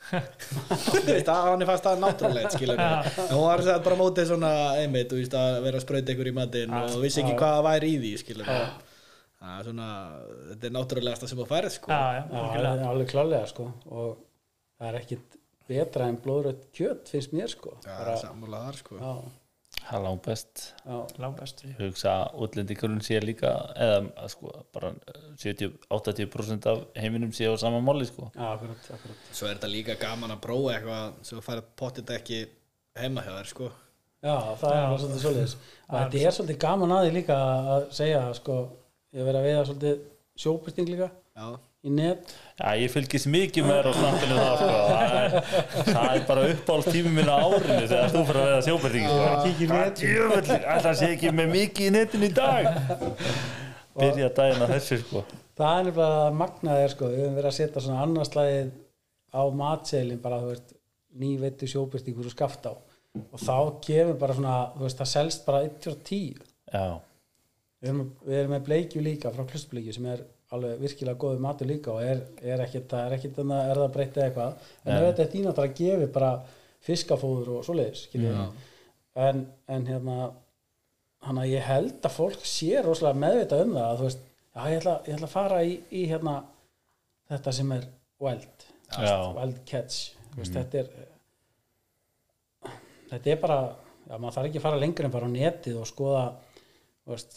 Þú veist, að hann er fast að náttúrulegt skilur við. en hún var sætt bara mótið svona einmitt, þú veist að vera að sprauta ykkur í matinn og vissi ekki hvað það væri í því skilur við. það er svona þetta er náttúrulegasta sem þú færð sko já, já, Já, algjörlega. alveg, alveg klálega sko og það er ekkit betra en blóðröð kjöt finnst mér sko Já, sammála þar sko já, það er langt best já, langbest Ég hugsa að útlendingurinn sé líka eða sko bara 70-80% af heiminum sé á sama máli sko já, akkurat, akkurat svo er þetta líka gaman að prófa eitthvað sem þú færð pottit ekki heima hjá þér sko já, það er alveg svolítið svolítið þetta er svolítið gaman að því líka að segja sko, ég hef verið að veiða svolítið sjóbyrting líka Já, í net Já, ég fylgist mikið með þér á snappinu það sko það er, það er bara uppáld tími minna á árinu þegar þú fyrir að reyða sjóbyrting sko. kíkir í Það er netin. djöfullin, alltaf sé ekki með mikið í netinu í dag Byrja daginn að þessu sko það er nefnilega magnað er sko við höfum verið að setja svona annarslæðið á matseðlin bara þú veist nýveittu sjóbyrtingur og skaft á og þá kemur bara svona þú veist það selst bara 1-10 Já, við erum, við erum með bleikju líka frá klustbleikju sem er alveg virkilega góðu matur líka og er, er ekkit, það er ekkit þannig að er það breytta eitthvað en ef þetta er þín að það gefi bara fiskafóður og svoleiðis ja. en, en hérna hann að ég held að fólk sé rosalega meðvitað um það að þú veist, já, ég, ætla, ég ætla að fara í, í hérna þetta sem er wild já, wild catch mm. veist, þetta er þetta er bara já, maður þarf ekki að fara lengur en bara á netið og skoða þú veist,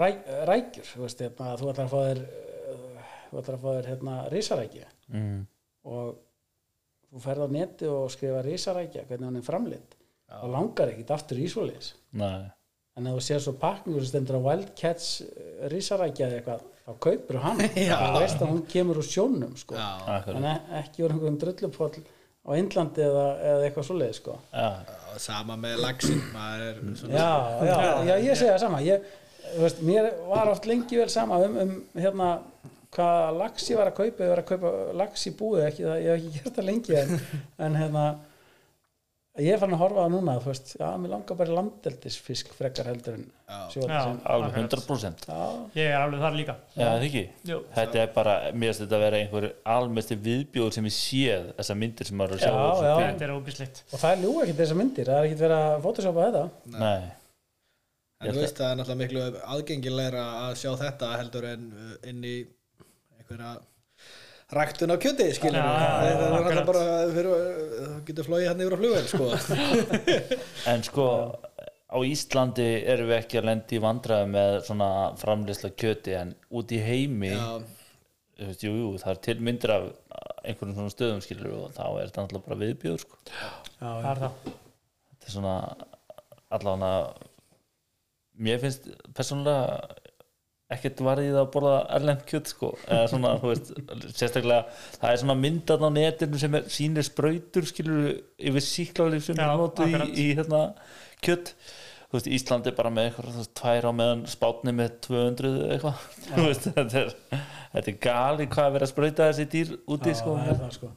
ræ, rækjur þú veist, hérna, þú ætlar að fá þér eh, þú ætlar að fá þér hérna, risarækja mm, og þú ferð á netið og skrifa risarækja hvernig hann er framleitt og langar ekkit aftur í svoleiðis nei en ef þú sér svo pakningu sem stendur á Wild Cats eh, risarækja eða eitthvað þá kaupir hann þú veist að hún kemur úr sjónum sko. já, akkurat. en e- ekki úr einhverjum drullupoll á Indlandi eða, eða eitthvað svoleiði sko. Já, og sama með laxin maður er svona, já, já, já, ég segja það sama ég, þú veist, mér var oft lengi vel sama um, um hérna hvað lax ég var að kaupa, ég var að kaupa lax í búið, ekki, það, ég hef ekki gert það lengi en, en hérna ég er fann að horfa á það núna, þú veist já, mér langar bara í landeldisfisk frekar heldur en sjóðan Já. sem alveg 100% já, ég er alveg þar líka Já, það ekki? Jú. Þetta er bara, mér finnst þetta að vera einhver almesti viðbjóður sem ég séð þessar myndir sem maður er að sjá Já, og svo já. bíl. þetta er ógislegt og það er ljúga ekkert þessar myndir, það er ekkert verið að photoshopa þetta Nei, en þú veist það er náttúrulega miklu aðgengilegra að sjá þetta heldur en uh, inn í einhverja ræktun á kjöti skilur Já, það er náttúrulega akkurat. bara fyrir, uh, þú getur flóið hann yfir á flugvel sko. en sko á Íslandi erum við ekki að lendi í vandræðum með svona framleysla kjöti en út í heimi já, þú veist, jú, jú, það er til myndir af einhverjum svona stöðum skilur og þá er þetta náttúrulega bara viðbjóður sko. það er það þetta er svona allavega mér finnst persónulega ekkert varðið að borða erlend kjöt sko, eða svona, þú veist sérstaklega, það er svona myndan á netinu sem er, sýnir sprautur skilur yfir síklarlif sem Já, er notið í, akkurat. í hérna kjött þú veist, Íslandi bara með eitthvað þú veist, tvær á meðan spátni með 200 eða eitthvað, þú veist, þetta er þetta er gali hvað að vera að sprauta þessi dýr úti, Já, sko það er það sko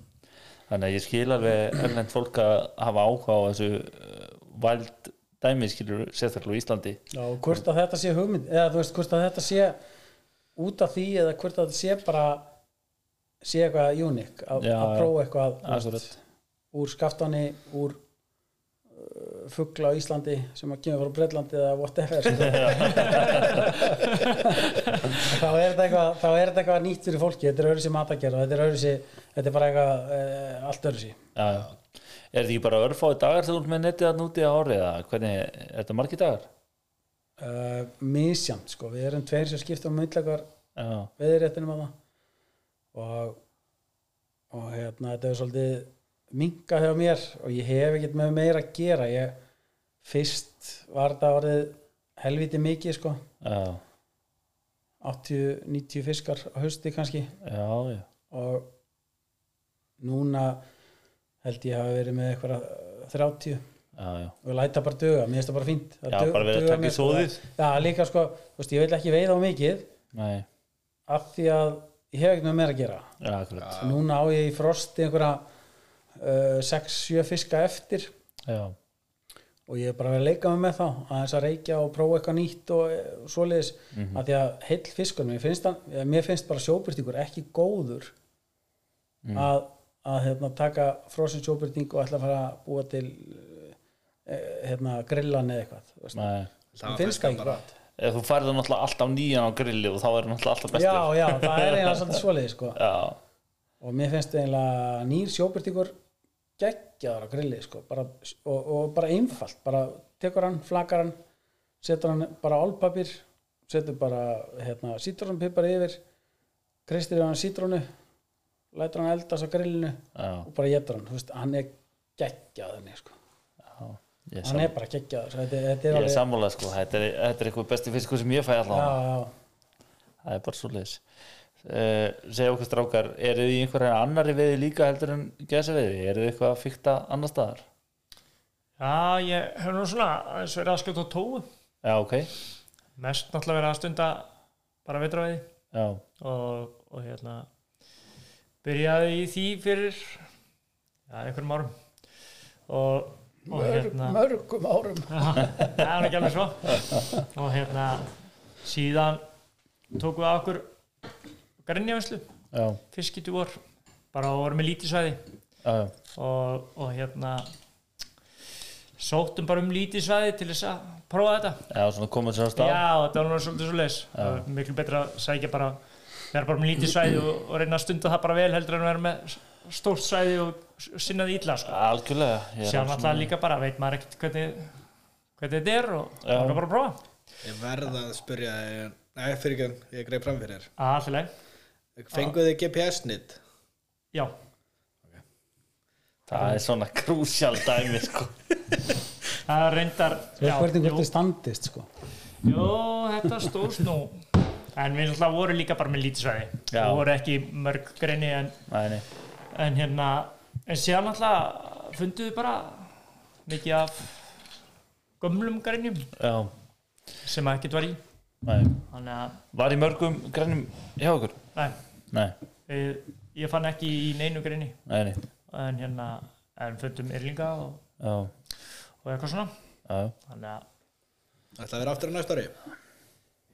Þannig að ég skil alveg erlend fólk að hafa áhuga á þessu uh, wild eh, dæmi skilur sérstaklega á Íslandi Já, og hvort að þetta sé hugmynd eða þú veist, hvort að þetta sé út af því eða hvort að þetta sé bara sé eitthvað unik að, Já, að já. prófa eitthvað þú veist, Akkurat. úr skaftani, úr uh, fugla á Íslandi sem að kemur frá Breitlandi eða whatever þá er þetta eitthvað þá er þetta eitthvað nýtt fyrir fólki þetta er öðru sér matakjara, þetta er öðru þetta er bara eitthvað uh, allt öðru sér já, já. er þetta ekki bara örfáði dagar þegar þú ert með netið að núti á árið eða hvernig, er þetta margir dagar? uh, misjant sko, við erum tveir sem skiptum um myndlegar já, veðiréttinum að það og, og hérna þetta er svolítið minka hjá mér og ég hef ekkert með meira að gera ég fyrst var þetta orðið helviti mikið sko já, 80-90 fiskar á hausti kannski já, já. og núna held ég hafa verið með eitthvað 30 já, já. og ég læta bara duga, mér finnst það bara fínt Það Já, dug- bara verið að dugar taka í mér, sko. sóðið. Já, líka sko, þú veist, ég vil ekki veiða á mikið Nei, af því að ég hef ekkert með meira að gera já, akkurat Og núna á ég í frosti einhverja uh, 6-7 fiska eftir já, og ég er bara að vera að leika mig með þá aðeins að reykja og prófa eitthvað nýtt og eh, svoleiðis, mm af því að heill fiskur, mér finnst, hann, eh, mér finnst bara sjóbyrtingur ekki góður að, að hérna, taka frosin sjóbyrting og ætla að fara að búa til eh, hérna, grillan eða eitthvað þú veist. nei Mér finnst það ekki gott Ef þú færði náttúrulega alltaf nýjan á grilli og þá er náttúrulega alltaf bestur já, já, það er eiginlega svolítið svoleiðis sko. já, og mér finnst eiginlega nýr sjóbyrtingur geggjaður á grilli sko, bara, og, og bara einfalt bara tekur hann, flakar hann setur hann bara álpapir setur bara hérna, sítrónpipar yfir kristir hann sítrónu lætur hann eldast á grillinu já, og bara getur hann, þú veist, hann er geggjaður henni, sko. já. Ég, sam, hann er bara geggjaður svo þetta, þetta er ég er alveg sammála sko, þetta er, þetta er eitthvað besti fiskur sem ég fæ já, allavega já, það er bara svo leiðis segja okkur strákar, eru þið í einhverja annari veiði líka heldur en gæsa veiði eru þið eitthvað að fykta annar staðar Já, ég hef nú svona aðeins verið að skjóta á tóu já, ok, mest náttúrulega verið að stunda bara vetraveði já, og, og hérna byrjaði í því fyrir já, einhverjum árum og, og hérna mörgum árum Já, það er ekki alveg svo og hérna síðan tókum við að okkur grenjavinslu, já, fiskitúar bara og vorum með lítisvæði já, já. og, og hérna sóttum bara um lítisvæði til þess að prófa þetta já svona komið sér á stað já, þetta var nú svolítið svo leis miklu betra að sækja bara vera bara með lítisvæði og, og reyna að stunda það bara vel heldur en að vera með stórt svæði og s- sinna því illa sko. algjörlega ég er Sér alls- náttúrulega líka bara, veit maður ekkert hvernig, hvernig þetta er og það er bara að prófa Ég verða að spyrja þig- Nei, fyrir ekki, ég greið fram fyrir þér. Allileg, Fenguð þið GPS-nýtt? já það er svona krúsjál dæmi sko. Það er reyndar það já, er hvernig jú, hvort þið standist sko. jú, þetta stóðst nú En við náttúrulega voru líka bara með lítisvæði Já. Við voru ekki mörg greini en, Nei, nei. en hérna En síðan náttúrulega funduðu bara mikið af gömlum greinjum já, sem ekkert var í nei. Þannig að, var í mörgum grænum hjá okkur nei, nei, við- ég fann ekki í neinu greini nei, nei. En hérna, en fundum yrlinga og, Já, og eitthvað svona já, Þannig að Ætla að vera aftur á næsta ári?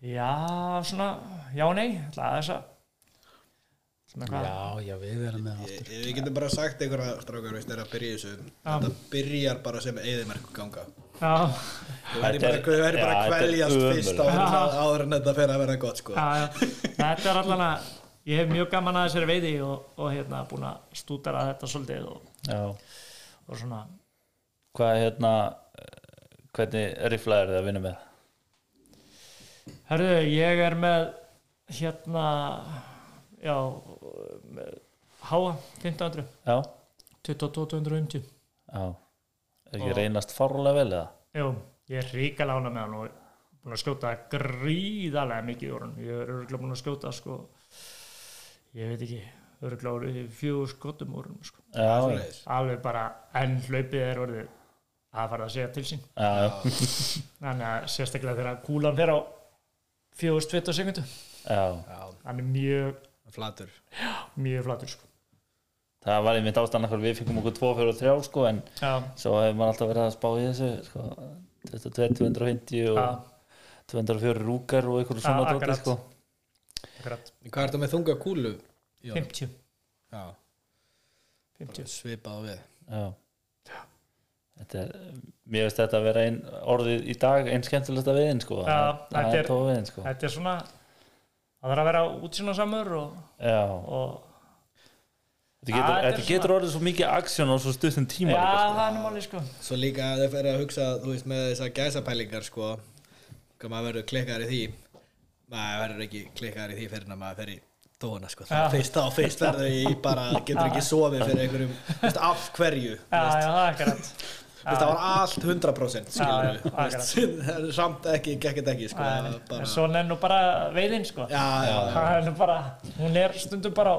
Já, svona, já, nei, alltaf þess að svona hvað, já, já, við verðum með Ég- Við getum bara sagt einhverja strákar veist þegar að byrja í þessu Þetta byrjar bara sem eðimerku ganga já, Þú verður Þetta bara, er- þú verður bara já, að þetta er kveljast ömurlegt. fyrst áður, en- áður en þetta fer að vera gott sko. já, já, þetta er allan að ég hef mjög gaman að þessari veiði og, og hérna búin að stúdara þetta svolítið og, já. og svona, hvað hérna eh, hvernig rifla er það að vinna með herðu, ég er með hérna, já, með háa 1500, já, 2250, já er ekki reynast fárlega vel eða jú, ég er ríka lána með hann og búin að skjóta gríðarlega mikið úr hann, ég er örgulega búin að skjóta sko, ég veit ekki, örgulega fjögur skotum úr hann sko. já, já, Svoleiðis. alveg bara enn hlaupið er orðið að fara að segja til sín já. þannig að sérstaklega þegar kúlan fer á 4.20 sekundu Já, hann er mjög, Flatur mjög flatur sko. það var einmitt ástæðan okkur við fengum okkur tvo fyrir og þrjá sko en já, svo hefur maður alltaf verið að spá í þessu sko. þetta er 250 og Já. 204 rúkar og eitthvað Já, svona dóti akkurat. sko. akkurat Hvað er þetta með þunga kúlu? Já, 50, já 50. svipað á við Já. Þetta er, mér veist þetta að vera ein, orðið í dag einn skemmtilegsta veiðin sko. Já, Það- þetta það er- er tóa veiðin sko. þetta er svona það þarf að vera útsýnarsamur og, Já, og þetta Já, getur, þetta er þetta getur orðið svo mikið aksjón á svo stuttum já, tíma líka, sko. það er námáli sko Svo líka að þau fyrir að hugsa, þú veist, með þessar gæsapælingar, sko, hvað maður verður klikkar í því, maður verður ekki klikkar í því fyrir en að maður fer í tóna, sko, Já. fyrst þá, fyrst verður í bara, getur ekki sofið fyrir einhverjum, þú veist, af hverju, já, já, það er akkurat þú veist, það var allt 100%, skilur Já, já, við, þú veist, það er samt ekki, gekkit ekki, sko, það er en bara, svona er nú bara veiðin sko já, já, já, það er nú bara, hún er stundum bara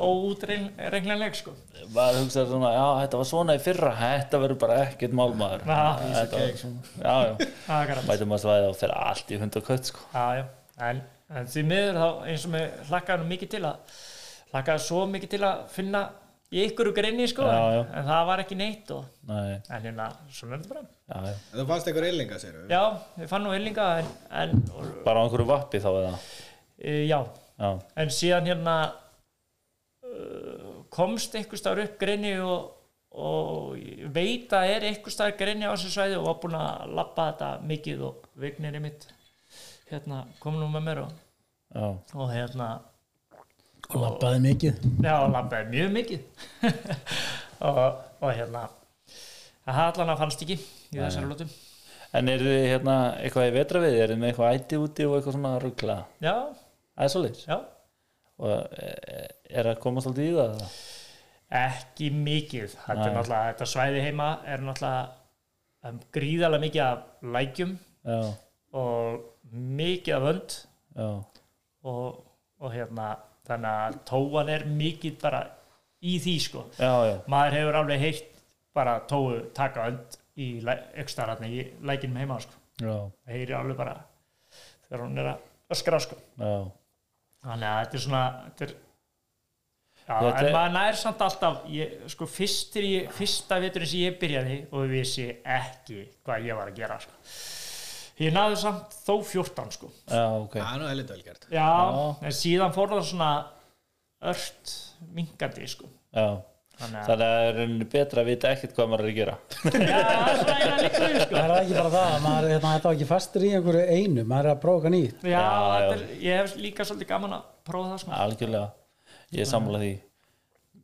óútreiknileg sko maður hugsaði svona, já, þetta var svona í fyrra þetta verður bara ekkert málmaður Já, þetta var svona, sko. já, já það er akkurat mætum að svæða og fer allt í hund og kött sko. Já, já, en, en því miður þá eins og mig hlakkaði nú mikið til að hlakkaði svo mikið til að finna í ykkur og greinni sko Já, já. En, en það var ekki neitt og Nei, en hérna, svona er þetta bara já, já. þú fannst einhver illinga, segir við, Já, við fannum heilinga en, en og, bara á einhverju vappi þá eða e, já, já, en síðan hérna uh, komst einhver staðar upp greinni og, og ég veit að er einhver staðar greinni á þessu svæði og var búin að labba þetta mikið og vignir í mitt hérna, kom nú með mér og, já, og hérna og labbaði mikið Já, hann labbaði mjög mikið og, og hérna það allan að fannst ekki í þessari lótum en eru þið hérna eitthvað í vetra við, eru þið með eitthvað æti úti og eitthvað svona ruggla, Já, það er svolítið já, og eh, er að komast alltaf í það eða? ekki mikið þetta er Nei. náttúrulega, þetta svæði heima er náttúrulega um, gríðalega mikið af lækjum já, og mikið af vönd já, og, og hérna þannig að tóan er mikið bara í því sko já, já maður hefur alveg heyrt bara tóu taka önd í aukstararni í lækinum heima sko já, það heyri alveg bara þegar hún er að öskra sko já, þannig að þetta er svona þetta er, já, Þetta en er- maður nær samt alltaf ég, sko fyrst er ég, fyrsta veturinn sem ég byrjaði og við vissi ekki hvað ég var að gera sko. ég náði samt þó 14 sko já, já, ok það er nú helvita vel gert, Já. en síðan fór það svona ört mingandi sko já, þannig að þannig að er rauninni betra að vita ekkert hvað maður er að gera Já, það er svona eina líka við, sko það er það ekki bara það, að maður er hérna, þetta var ekki fastur í einhverju einu, maður er að prófa eitthvað nýtt Já, Já, já. þetta er, ég hef líka svolítið gaman að prófa það sko. algjörlega, ég er sammála því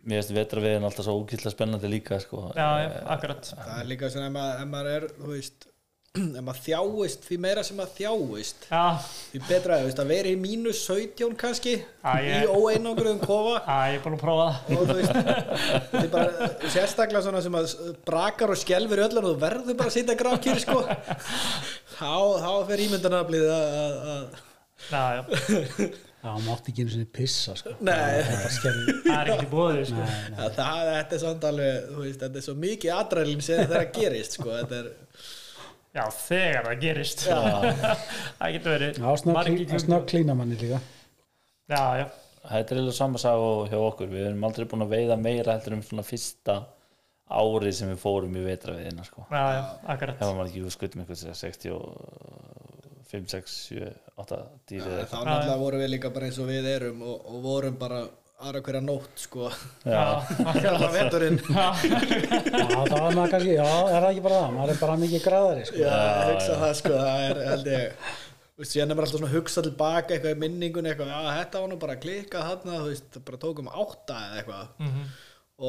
mér finnst vetraviðin alltaf svo úkýrlega spennandi líka sko. Já, já, akkurat það er líka svona, ef maður- ef maður er, þú veist, ef maður þjáist, því meira sem maður þjáist, Já, Því betra þú veist, að vera í mínus 17 kannski Æ, Ah, ég- í óeinangruðum kofa að ég er búin að prófa það og þú veist þetta er bara sérstaklega svona sem að brakar og skelfur í öllan og þú verður bara að sitja grafkýr sko þá, þá fer ímyndanaflið að, að, að Já, já, já, maður átti ekki einu sinni pissa sko. nei, það er skerði það er ekki búið sko. að það, þetta er samt alveg þú veist, þetta er svo mikið atrælum sem þetta er að gerist sko, þetta er Já, þegar það gerist Það getur verið margir að klukkur. snögglína manni líka Já, já, þetta er eiginlega samansaga hjá okkur við erum aldrei búin að veiða meira heldur um svona fyrsta árið sem við fórum í vetraviðina sko. já, já, akkurat það var maður ekki við skutum eitthvað sem 65, 6, 7, 8 dýri eða þá eitthvað náttúrulega vorum við líka bara eins og við erum og, og vorum bara aðra hverja nótt sko Já, hérna veturinn já, já, þá er maður kannski, já, er það ekki bara það maður er bara mikið græðari sko. Já, ég hugsa það sko, það er held ég Þú veist, Sérna er maður alltaf svona að hugsa tilbaka eitthvað í minningunni eitthvað, já, þetta var nú bara að klika þarna, þú veist, bara tókum átta eða eitthvað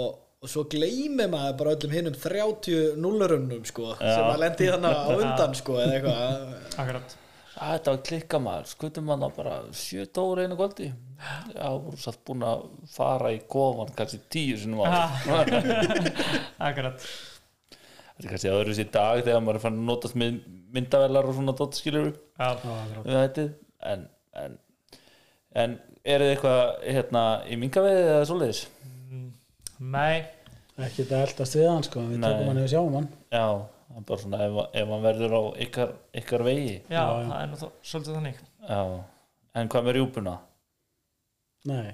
og, og svo gleymi maður bara öllum hinum 30 nullurunum sko, sem að lendi þannig á undan sko, eða eitthvað akkurat Að Ah, þetta var klikka maður, skutum maður bara 7 dóra einu kvöldi já, voru satt búin að fara í kofan kannski 10 sinum ára Akkurat þetta er kannski öðru sér dag þegar maður er fann að notast með myndavelar og svona dotskilur Já, við hættið en, en, en er þið eitthvað hérna, í mingaveið eða svoleiðis? nei, ekki þetta eldast við hann, sko. við Nei. tökum hann ef við sjáum hann Já, það er bara svona ef, ef hann verður á ykkar, ykkar vegi já, það er nú þó, svolítið þannig Já, en hvað með rjúpuna? nei,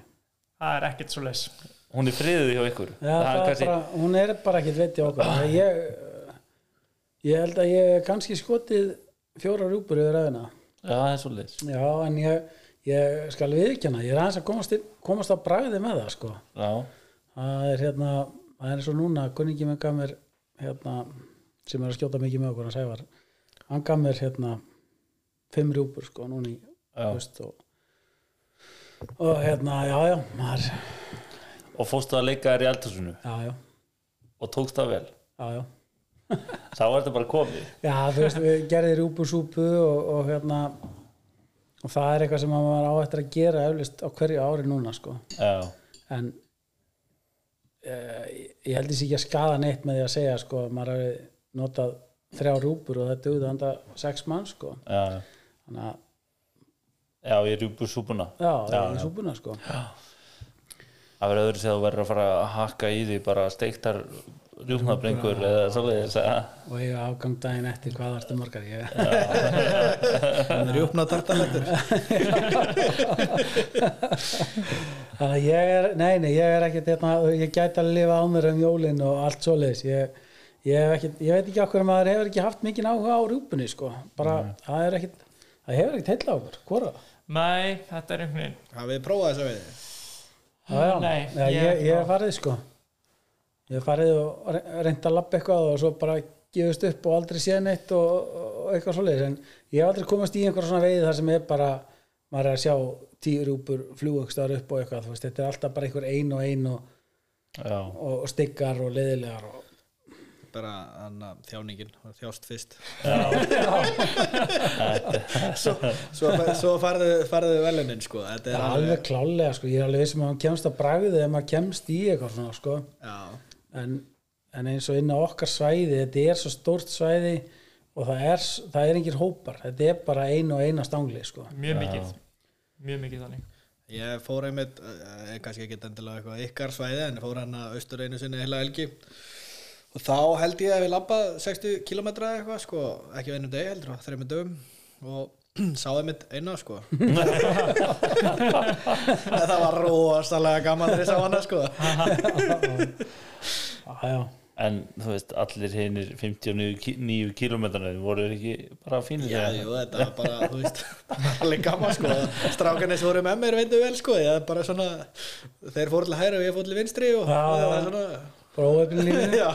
Það er ekkert svo leis Hún er friðið hjá ykkur já, það er bara, hún er bara ekkit veit í okkur ég, ég held að ég hef kannski skotið fjóra rjúpur yfir öðina Já, það er svo leys já en ég, ég skal viðkjanna ég er aðeins að komast, til, komast að bragði með það sko Já, það er hérna það er eins og núna, kunningi minn gaf mér hérna, sem er að skjóta mikið með okkur hann sævar, hann gaf mér hérna fimm rjúpur sko núna í Já. höst og, og hérna, já já maður, og fórstu að leika þér í eldhúsinu já já, og tókst það vel já já Þá er þetta bara komið já þú veist, við gerði rjúpusúpu og, og hérna og það er eitthvað sem maður á eftir að gera eflust á hverju ári núna sko Já, en uh, ég held þessi ekki að skaða neitt með því að segja sko að maður hafi notað þrjá rúpur og það dögðu handa sex mann sko já, þannig að já, ég rjúpur súpuna já, það Já, er já. í súpuna sko Það verður öðru sem þú verður að fara að hakka í því bara steiktar rjúpnabringur eða svoleiðis að og ég afgang daginn eftir hvað það ertu morgar ég, Það er uppnað tartalættur þannig að ég er nei, nei, ég er ekkert hérna, ég gæti að lifa á mér um jólin og allt svoleiðis ég, ég, hef ekkert, ég veit ekki okkur að maður hefur ekki haft mikinn áhuga á rúpunni sko bara, Mm. það er ekkert það hefur ekkert heilla okkur, hvora Nei, þetta er einhvern veginn Hafið þið prófað þess að veiði? Já, já, Nei, já, ég- ég, ég hef farið sko ég hef farið og re- reynt að labba eitthvað og svo bara gefist upp og aldrei séð neitt og, og eitthvað svoleiðis en ég hef aldrei komast í einhver svona veiði þar sem er bara maður er að sjá tíu rúpur flugungstar upp og eitthvað, þú veist, þetta er alltaf bara einhver ein og ein og, Já, og styggar og leiðilegar og Bara hann að þjáningin, hann þjást fyrst Svo, svo, svo farðu, farðu velunin sko Þetta er það er alveg alveg klálega sko, ég er alveg vissum að hann kemst að bragðið ef maður kemst í eitthvað svona sko Já, en, en eins og inn á okkar svæði þetta er svo stórt svæði og það er, það er engir hópar þetta er bara ein og eina stangli sko. mjög mikið Mjög mikið þannig Ég fór einmitt, eh, eh, kannski ekki endilega eitthvað ykkar svæði en ég fór hann að austur einu sinni heila helgi og þá held ég að við labbað 60 km eitthvað sko, ekki á einum degi heldur, á þreymur dögum og sá einmitt eina sko þetta var rosalega gaman þegar ég sá hana sko ah, já, en þú veist, allir hinnir 59 kilometranir voru þeir ekki bara fínir Já, þegar? jú, þetta var bara, þú veist, allir gaman sko, strákanis voru með mér veitum vel sko, ég bara svona, þeir fóru til hægri og ég fóru til vinstri og Já, það var já. svona, bara óöfnum lífið já,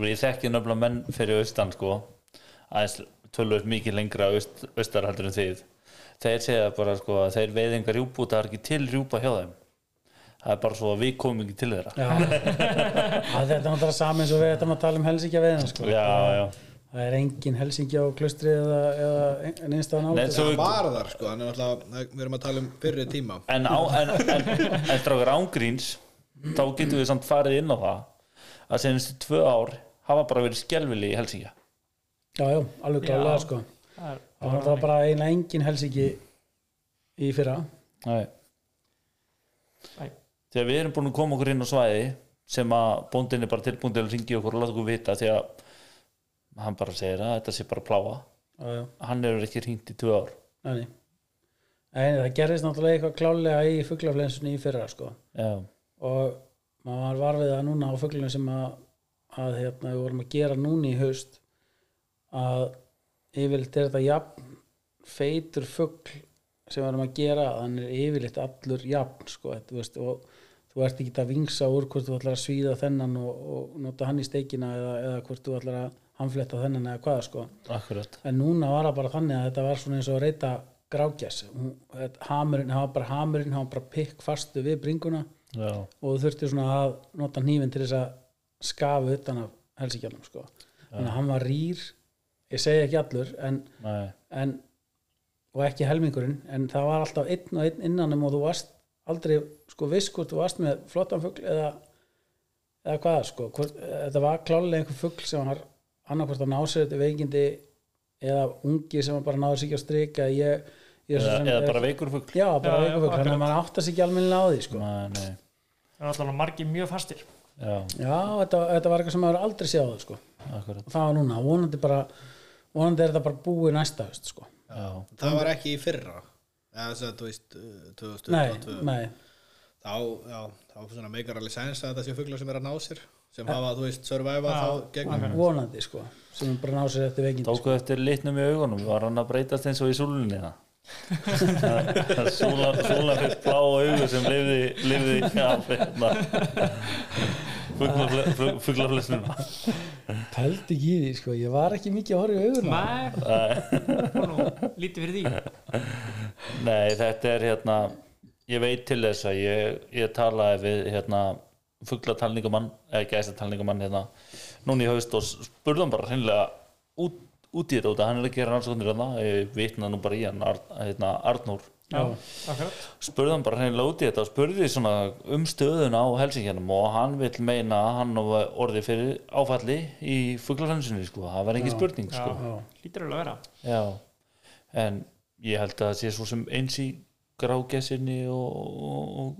og ég þekki nöfnilega menn fyrir austan sko aðeins tölvöld mikið lengra aust, austarhaldur en þið þeir segja bara sko að þeir veiðingar rjúpu og það er ekki til rjúpa hjá þeim það er bara svo að við komum ekki til þeirra já, Já, að þetta er náttúrulega saman eins og við ætlum að tala um helsingja veðina sko. já, það er engin helsingja á klustri eða, eða neinstaðan Nei, átt svo, það var þar sko, en alltaf, við erum að tala um fyrri tíma en, á, en, en, en strákar ángríns þá getum við samt farið inn á það að senast tvö ár hafa bara verið skelvili í Helsingja já, já, alveg klálega Já. sko. Það er það var náttúrulega bara eina engin helsingi í fyrra Nei. Nei. þegar við erum búin að koma okkur inn á svæði sem að bóndin er bara tilbúin til að ringi okkur og láta okkur vita því að hann bara segir að þetta sé bara að pláa já, já hann er ekki hringt í tvö ár Nei, nei. Nei, það gerðist náttúrulega eitthvað klálega í fuglaflensunni í fyrra sko. já, og maður var var við það núna á fuglunum sem að, að hérna, við vorum að gera núna í haust að yfirleitt er þetta jafn feitur fugl sem við erum að gera að hann er yfirleitt allur jafn sko, þetta, þú veist, og þú ert ekki að vingsa úr hvort þú ætlar að svíða þennan og, og nota hann í steikina eða, eða hvort þú ætlar að hamfletta þennan eða hvað sko akkurat en núna var það bara þannig að þetta var svona eins og að reyta grákjæs hamurinn, hann var bara hamurinn, hann var bara pikk fastu við bringuna já, og þú þurfti svona að nota hnífinn til þess að skafa utan af helsingjarnum sko. þannig að hann var rýr ég segi ekki allur en, nei, en, og ekki helmingurinn en það var alltaf einn og einn innanum og þú varst aldrei sko viss hvort þú varst með flottan fugl eða, eða hvað sko hvort, þetta var klálega einhver fugl sem var annarkvort að ná sér þetta veikindi eða ungi sem bara náður sér ekki að strika ég, ég er svo eða, sem- eða bara veikur fugl já, bara Já, já, veikur fugl, þannig akkurat. að maður áttar sér ekki almennilega á því sko nei, nei, Það er alltaf margir mjög fastir já, Já, þetta, þetta var eitthvað sem maður aldrei séð á það sko. akkurat Það var núna, vonandi bara vonandi er þetta bara búið næsta höst sko. já, Það var ekki í fyrra eða þess að þú veist uh, Nei, 2022 nei, þá, já, þá svona meikar alveg sens að það séu fuglar sem er að ná sér sem hafa, þú veist, surviva Já, þá gegnum vonandi sko sem hún bara ná sér eftir veginn Tóku eftir litnum í augunum, var hann að breytast eins og í súlunni það? Súla, súla fyrir blá augu sem lifði, lifði af hérna fuglafle- fuglaflesnuna pældi ekki í því sko, ég var ekki mikið að horfa í augun Nei, og nú lítið fyrir því Nei, þetta er hérna ég veit til þess að ég, ég talaði við hérna fuglatalningumann, eða gæstatalningumann hérna, núna í haust og spurðum bara hreinlega út, út í þetta út að hann er að gera rannsóknir hérna, ég vitna nú bara í hann Ar, hérna, Arnór Já, akkurat spurði hann bara hreinlega út í þetta og spurði svona um stöðuna á Helsingjarnum og hann vill meina að hann var orðið fyrir áfalli í fuglarhansunni sko, það var ekki spurning sko. Já, lítur alveg að vera Já. en ég held að það sé svo sem eins í grágessinni og, og, og,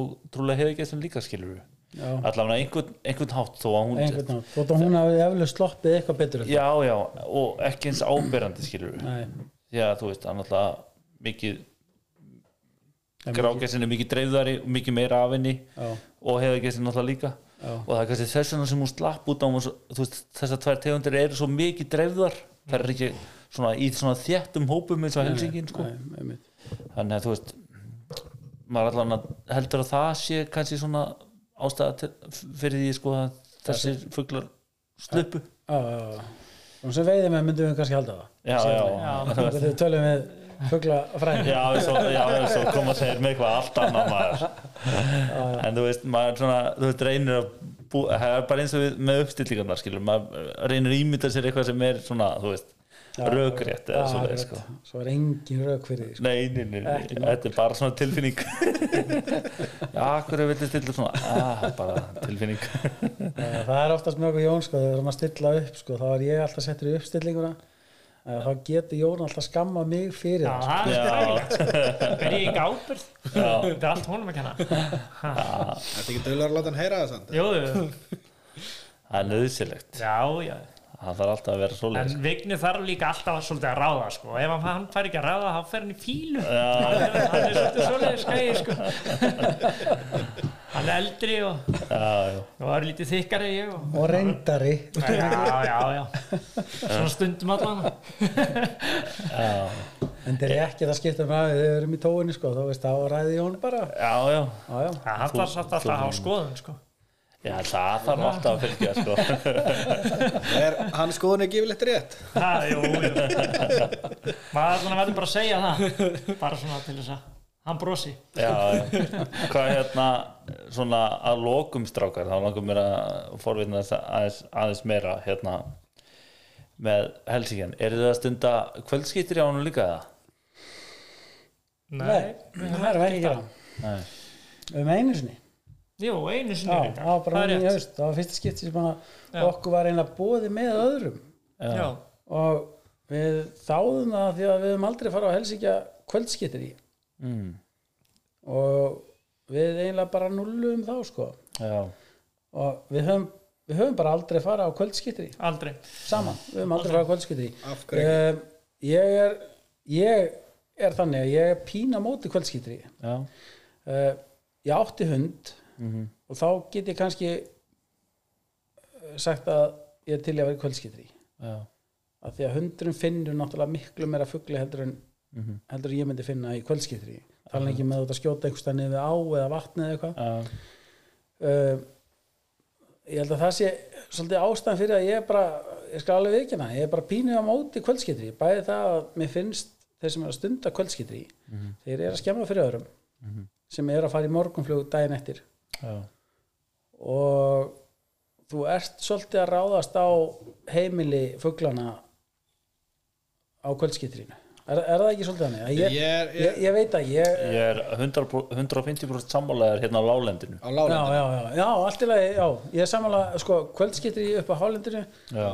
og trúlega heiðagessin líka skilur Já. allavega einhvern, einhvern hátt þó að hún einhvern nátt, þótt að hún hafi eflaust sloppið eitthvað betur en það. já, já, og ekki eins áberandi skilur Nei, því að þú veist, hann alltaf mikið En mikið- grágessin er mikið dreifðari og mikið meira af henni já, og heiðagessin náttúrulega líka Já. og það er kannski þess vegna sem hún slapp út á hún var svo- þú veist, þessar tvær tegundir eru svo mikið dreifðar það er ekki svona í svona þéttum hópum eins og helsingin sko. nei, einmitt. þannig að þú veist maður allan að heldur að það sé kannski svona ástæða til, fyrir því sko að þessir fuglar sluppu Já, já, já. og sem veiði með myndum við kannski halda já, já, já. Já, það þegar við tölum við fugla fræði Já, svo, já, svo koma þeir með eitthvað allt annað maður En þú veist, maður svona, þú veist, reynir að bú, það er bara eins og við með uppstillingarnar skilur, maður reynir að ímynda sér eitthvað sem er svona, þú veist, rökrétt eða svo leið, sko svo er engin rauk fyrir því sko. Nei, nei, nei, nei, þetta er bara svona tilfinning Já, hverju viltu stilla svona ah, bara tilfinning Eh, það er oftast með okkur Jón sko, þegar við erum að stilla upp sko, þá er ég alltaf settur í uppstillinguna eh, þá getur Jón alltaf skammað mig fyrir Já, það, það Já. er stræðilegt sko. Ber ég ekki ábyrð Þetta er allt honum að kenna Þetta ekki dölur að láta hann heyra það samt Jú, jú, Það er nöðsilegt, já, já það þarf alltaf að vera sko. svoleið En Vigni þarf líka alltaf svolítið að ráða sko. Ef hann, hann fær ekki að ráða, þá fer hann í fílu Hann er hann er svolítið svolítið skæði sko. Hann er eldri og, Já, já, og er lítið þykkari en ég og... og reyndari Já, já, já Svona stundum allan en þeir Eh. eru ekki það skipta með að þegar við erum í tóinni sko, þá veist þá ræði Jón bara já, já já, já. Já, Hann þarf samt alltaf að hafa skoðun sko. Já, það þarf alltaf að fylgja, sko Er hann skoðun ekki yfirleitt rétt? Ha, jú, jú. Maður svona verður bara að segja það Bara svona til þess að hann brosi já, já. hvað hérna svona að lokum strákar þá langum mér að forvitna þess aðeins, aðeins meira hérna með Helsingin eru þið að stunda kvöldskýttir á honum líka það? Nei, það erum við ekki að gera Nei. um einu sinni Jú, einu sinni Já, líka. það var bara Það er núna í rétt. haust, það var fyrsta skipti sem að Já. okkur var einlega bóði með öðrum Já, og við þáðum það því að við höfum aldrei farið á Helsingja kvöldskittir í Mm, og við eiginlega bara nullum þá sko já, og við höfum, við höfum bara aldrei farið á kvöldskittir í aldrei saman, við höfum aldrei farið á kvöldskittir í Af hverju ekki? um, ég, er, ég er þannig að ég er pína á móti kvöldskittir í já, uh, ég átti hund Mhm. og þá get ég kannski eh, sagt að ég er til í að vera kvöldskitri já, af því að hundurinn finnur náttúrulega miklu meira fugli heldur en, Mhm. heldur en ég myndi finna í kvöldskitri tala ekki með þú ert að skjóta einhverstað niður á eða vatni eða eitthvað já, uh, ég held að það sé svolítið ástæðan fyrir að ég er bara ég skal alveg viðkjöna, ég er bara pínu á móti kvöldskitri, bæði það að mér finnst þeir sem er að stunda kvöldskitri Mhm. þeir eru að skemma fyrir öðrum sem eru að fara í morgunflug daginn eftir já, og þú ert svolítið að ráðast á heimili fuglana á kvöldskittrinu er, er það ekki svolítið þannig? Að Ég, Ég er- ég, ég veit að ég ég er 100, 150% sammálaðar hérna á lálendinu Á já, lálandinu? já, já, já, allt í lagi já, ég er samanlega, sko, kvöldskittri upp á hálendinu já,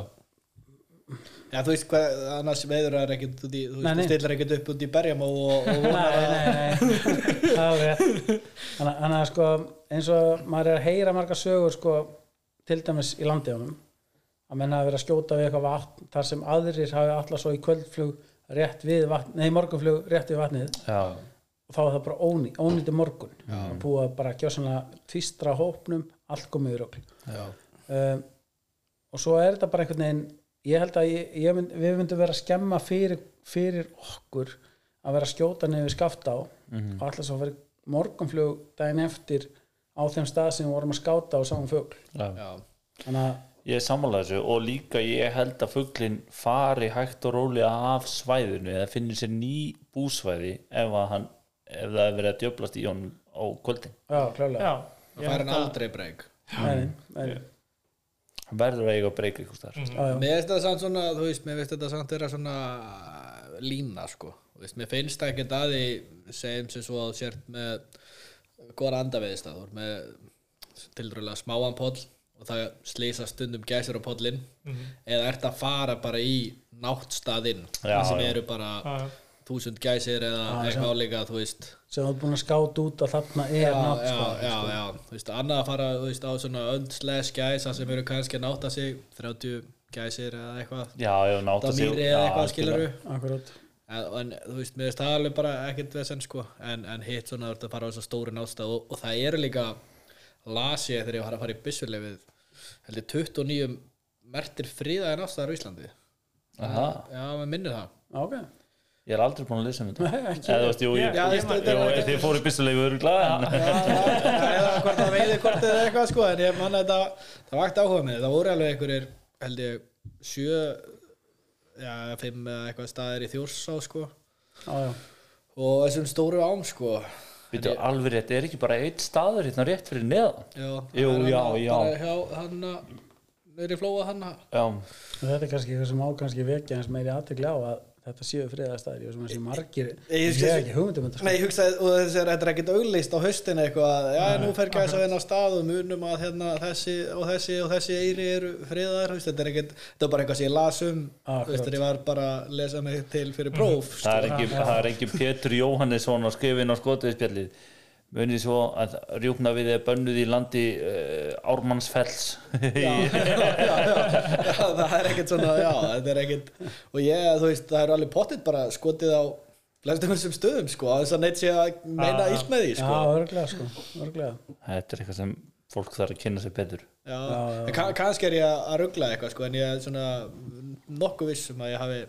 Já, þú veist hvað, annars veiður það ekkert út í, þú Nei, veist, nei. þú stillar ekkert upp út í berjum og, og, og nei, vonar að nei, nei, það er rétt þannig þannig að sko, eins og maður er að heyra marga sögur sko, til dæmis í landiðanum að menna að vera að skjóta við eitthvað vatn þar sem aðrir hafi allar svo í kvöldflug rétt við vatn, nei, morgunflug rétt við vatnið já, og þá er það bara óný, ónýtti morgun það er búið að bara gjössanlega tvistra hópnum allt komið í rögl Já. um, og svo er þetta bara einhvern veginn ég held að ég, ég mynd, við myndum vera að skemma fyrir, fyrir okkur að vera að skjóta niður skaft á og alltaf svo verið morgunflug daginn eftir á þeim stað sem við vorum að skáta og sáum fugl Já. já, þannig að Ég er sammála þessu og líka ég held að fugglinn fari hægt og rólega af svæðinu eða finnir sér ný búsvæði ef, að hann, ef það er verið að djöflast í honum á kvöldin. já, klálega já, það fær hann aldrei breyk nei, nei, nei. Hann verður að eiga að breyka ykkur þar. Já, já. Mér finnst þetta samt svona, þú veist, mér finnst þetta samt vera svona lína, sko. Þú veist, mér finnst ekki að því, segjum sem svo að þú sért með góðar andaveðist að þú er með tilröðlega smáan poll og það slýsa stundum gæsir á pollin eða ert að fara bara í náttstaðinn, Já, það sem já. eru bara já. þúsund gæsir eða eitthvað álíka, þú veist sem þú er búin að skáta út að þarna er nátt já, sko. já, já, þú veist, annað að fara þú veist, á svona öndsles gæsa sem eru kannski að náta sig 30 gæsir eða eitthvað Já, ég hef nátt þetta mýri eða eitthvað skilur akkurat en, en þú veist, mér finnst það alveg bara ekkert vesen sko, en, en hitt svona þú ert að fara á þess að stóri náttstað og, og það eru líka las ég þegar ég var að fara í byssulefið held ég 29 mertir friðaði náttstaðar á Íslandi Aha, já, maður minnir það ok, ég er aldrei búin að lesa um þetta. Nei, ekki. Eða, þú veist, jú, ég, Já, veist, þetta jú, er- þið fóru byrstulegu öruglega en Já, það er hvort það veiði hvort eða eitthvað sko en ég manna þetta, það vakti áhuga með það voru alveg einhverjir, held ég sjö, já, fimm eða eitthvað staðir í þjórsá sko já, já og þessum stóru ám sko býtu alveg rétt, er ekki bara eitt staður hérna rétt fyrir neðan? já, Jú, það er já, hana- já. bara hjá hann að niður í flóa hann að Já, Og Þetta er kannski eitthvað sem á kannski vekja eins meiri aðtegli á að þetta séu friðastæðir og sem þessi margir, Ég- ég- ég er ekki hugmyndum þetta sko. Nei, ég hugsaði, og þessi er þetta er ekkert auglýst á höstin eitthvað, já, nú fer gæsa þinn á stað og munum að hérna, þessi og þessi og þessi eiri eru friðar, þú veist, þetta er ekkert, þetta er bara eitthvað sem ég las um, Akkurat. þú veist, þegar ég var bara að lesa mig til fyrir próf, það er ekki, það er ekki Pétur Jóhannesson að skrifa inn á skotiðspjallið munið svo að rjúkna við er bönnuð í landi uh, Ármannsfells já, já, já, það er ekkert svona, já, þetta er ekkert og ég, þú veist, það er alveg pottitt bara skotið á flestum þessum stöðum, sko, að þess að neitt sé að meina illt með því, Já, sko. örglega sko, örglega þetta er eitthvað sem fólk þarf að kynna sér betur Já, en kann, kannski er ég að ruggla eitthvað, sko, en ég er svona nokkuð viss um að ég hafi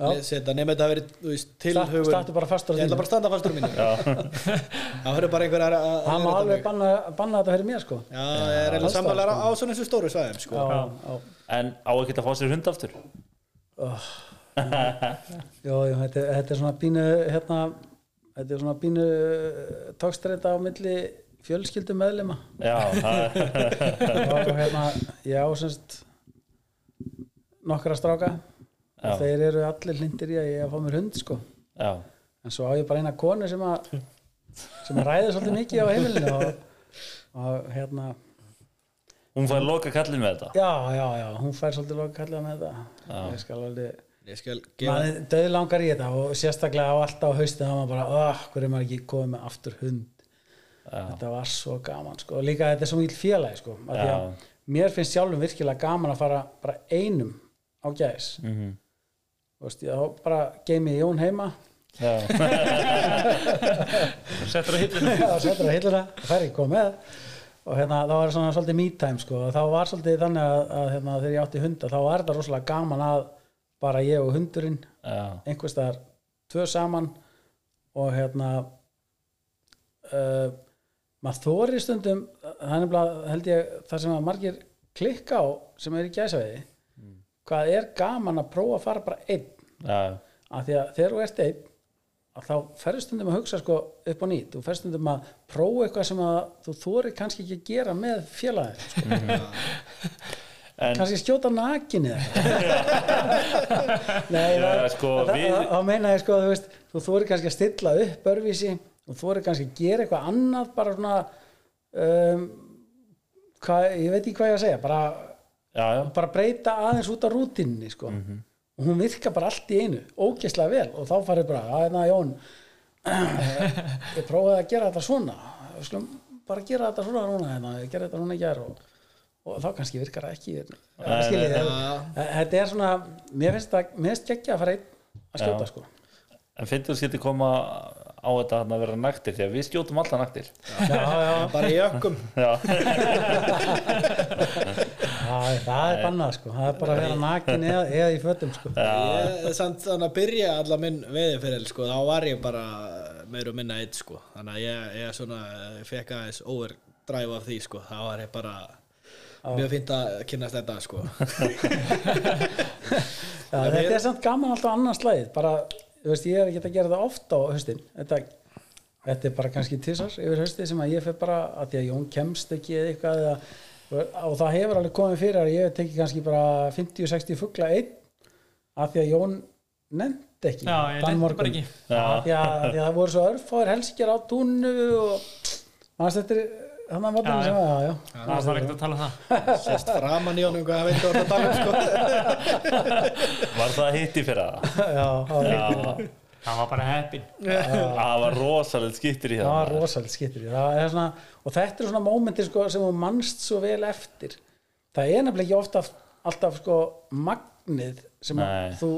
Já. setja, nema þetta hafi verið, þú veist, Sta- tilhugun. Stattu bara fastur á Ég ætla þínu bara að standa fastur á mínu. Það verður bara einhver að... að- Það má að- alveg banna, banna þetta fyrir mér sko Já, ég er alls eiginlega sammálar á, á svona þessu stóru svæðum, sko. Já, já, en á ekkert að fá sér hund aftur já, já þetta, þetta er svona bínu hérna, þetta er svona bínu tókstreita á milli fjölskyldum meðlema já, það, og hérna, já, semst nokkra stráka Já. og þeir eru allir hlindir í að ég eigi að fá mér hund sko já, en svo á ég bara eina konu sem að sem að ræði svolítið mikið á heimilinu og, og hérna hún fær loka kallið með þetta já, já, já, hún fær svolítið loka kallað með þetta ég skal alveg Ég skal gefa... maður döð langar í þetta og sérstaklega á alltaf á haustið þá var maður bara, ah, hver er maður ekki komið með aftur hund þetta var svo gaman sko, og líka þetta er svo mjög félagi sko, af því Já. að mér finnst sjálfum virkilega gaman að fara bara einum á gæs mm Mhm. -hmm. veist, ég, þá bara geimi Jón heima já, settur á hillinu Já, setur á hilluna, það fær ekki að koma með og hérna, þá var svona svolítið me time sko, og þá var svolítið þannig að, að hérna, þegar ég átti hunda, þá var þetta rosalega gaman að bara ég og hundurinn já, einhvers staðar tvö saman og hérna uh, maður þóri stundum það er nefnilega, held ég, það sem að margir klikka á sem er í gæsaviði hvað er gaman að prófa að fara bara einn já, að því að þegar þú ert einn að þá ferðu stundum að hugsa sko upp á nýtt þú ferðu stundum að prófa eitthvað sem að þú þóri kannski ekki að gera með félagin sko. en kannski skjóta nakinni Nei, Já, það, sko, það, við- það, það meina ég sko að þú veist þú þóri kannski að stilla upp örvísi og þóri kannski að gera eitthvað annað bara svona um, hvað, ég veit ekki hvað ég að segja bara, já, já, bara breyta aðeins út á rútinni sko. og hún virka bara allt í einu ógeðslega vel og þá farið bara að hérna Jón ég prófaði að gera þetta svona Við skulum bara gera þetta svona núna hérna. ég gera þetta núna í gær og, og þá kannski virkar það ekki hérna." Skilji, þetta er svona mér finnst, það, mér finnst ekki að fara einn að skjóta sko. en finnst þú skilti koma á þetta þarna að vera naktir því að við skjótum alltaf naktir já, já, bara í ökkum já, já, það er bannað sko það er bara að vera nakin eða, eða í fötum sko Ég, eh, samt þannig að byrja allar minn veðiferil sko, þá var ég bara meir og minna eitt sko, þannig að ég, ég svona eh, fekk aðeins overdrive af því sko, þá var ég bara mjög fínt að kynnast þetta sko Já, þetta er samt gaman alltaf annars slæðið bara, þú veist, ég er ekki að gera það ofta á haustin þetta, þetta er bara kannski tísar yfir haustið sem að ég fer bara að því að Jón kemst ekki eða eitthvað eða, og það hefur alveg komið fyrir að ég teki kannski bara 50-60 fugla einn að því að Jón nefndi ekki Já, ég þann nennti morgun. bara ekki. Já. Af því að, af því að það voru svo örfáður helskjar á túnu og maður stettir hann að Já, vatnum já. sem að já, já. það var ekkert að tala um það sérst framan í honum hvað hann veit hvað það tala um sko var það hitti fyrir það já, það var- já, það var bara heppin það var rosalegt skittir í hérna. það var það rosalega skittur það er svona, og þetta eru svona mómentir sko, sem hún mannst svo vel eftir það er nefnilega ekki ofta alltaf sko magnið sem Nei. þú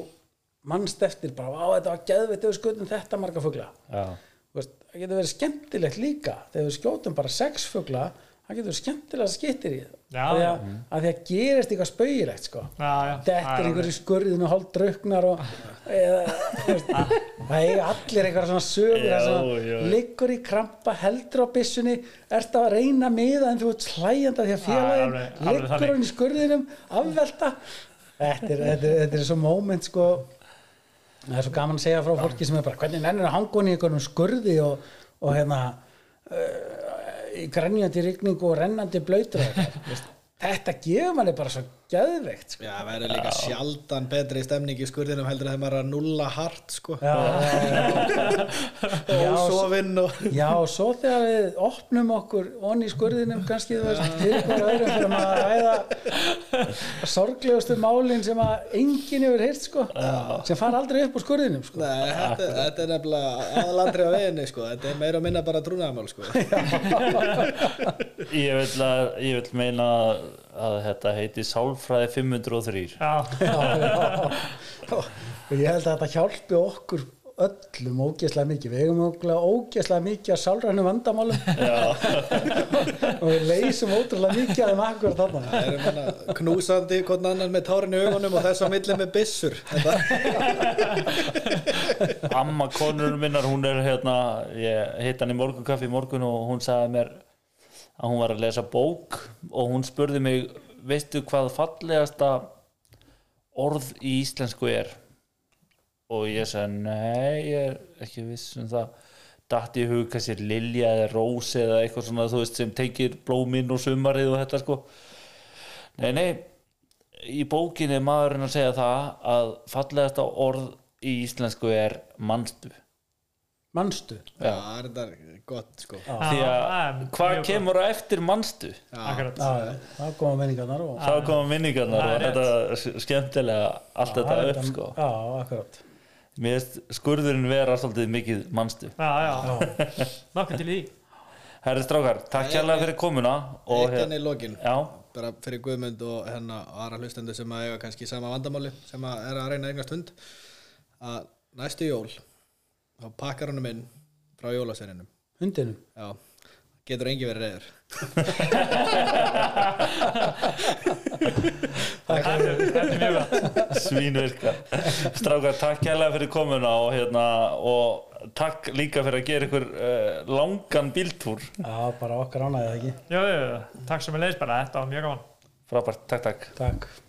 mannst eftir bara, á þetta var geðveitt ef við skutum þetta marga fugla já, Þú veist, það getur verið skemmtilegt líka þegar við skjótum bara sex fugla það getur verið skemmtilega skittir í Já, það já. að, að því að gerist eitthvað spaugilegt sko Já, já. þetta Það er er einhverju skurðin og hálf draugnar og eða, þú veist, það eiga allir eitthvað svona sögur Já, þar sem já. liggur í krampa, heldur á byssunni ert að reyna miða en þú ert slægjandi af því að félagin Já, alveg- alveg liggur þannig. hann í skurðinum, afvelta þetta er, þetta, er, þetta er svo moment sko það er svo gaman að segja frá fólki sem er bara hvernig nennir að hanga hún í einhverjum skurði og, og hérna uh, í grenjandi rigningu og rennandi blöytur og eitthvað, þú veist. þetta gefur manni bara svo geðveikt sko. já, það verður líka sjaldan betri stemning í skurðinum heldur en þegar maður er að nulla hart sko já, og sofinn og já, já, og svo þegar við opnum okkur onni í skurðinum kannski þú veist til hverju öðrum fyrir maður að ræða sorglegustu málin sem að enginn hefur heyrt sko, sem fara aldrei upp úr skurðinum sko. Nei, þetta, þetta er nefnilega aðlandri á veginni sko, þetta er meira og minna bara trúnaðamál sko ég vil, að, ég vil meina að, að þetta heiti Sálfræði 503 já, já, já. og ég held að þetta hjálpi okkur öllum ógeðslega mikið við eigum ógeðslega, ógeðslega mikið að sálrænu vandamálum og við leysum ótrúlega mikið að þeim akkur þarna Það eru manna knúsandi hvern annan með tárinu augunum og þess að milli með byssur þetta amma konur minnar hún er hérna ég hitt hann í morgunkaffi í morgun og hún sagði mér að hún var að lesa bók og hún spurði mig veistu hvað fallegasta orð í íslensku er og ég sagði nei ég er ekki viss um það datt í hug kannski lilja eða rós eða eitthvað svona þú veist sem tekir blómin og sumarið og þetta sko nei nei í bókinni er maðurinn að segja það að fallegasta orð í íslensku er mannstu mannstu Já, það er þetta gott sko Já, því það að er hvað mjög kemur á eftir mannstu akkurat Já, já, það koma menningarnar og þá koma minningarnar og Það er þetta skemmtilega allt þetta upp sko já, akkurat mér finnst skurðurinn vera svolítið mikið mannstu já, já, nokkuð til í herri strákar, takk hérlega fyrir komuna og eh, hérna- Eitt enn hérna í lokin já, bara fyrir Guðmund og hérna og aðra hlustendur sem að eiga kannski sama vandamáli sem að er að reyna að eignast hund að næstu jól þá pakkar honum inn frá jólaserinum hundinum Já, getur engi verið reyður það er það er mjög gott svínvirka strákar, takk hérlega fyrir komuna og hérna, og takk líka fyrir að gera ykkur uh, langan bíltúr já, bara okkar ánægði það ekki, Jú, jú, jú, takk sem ég leys bara, þetta var mjög gaman frábært, takk takk takk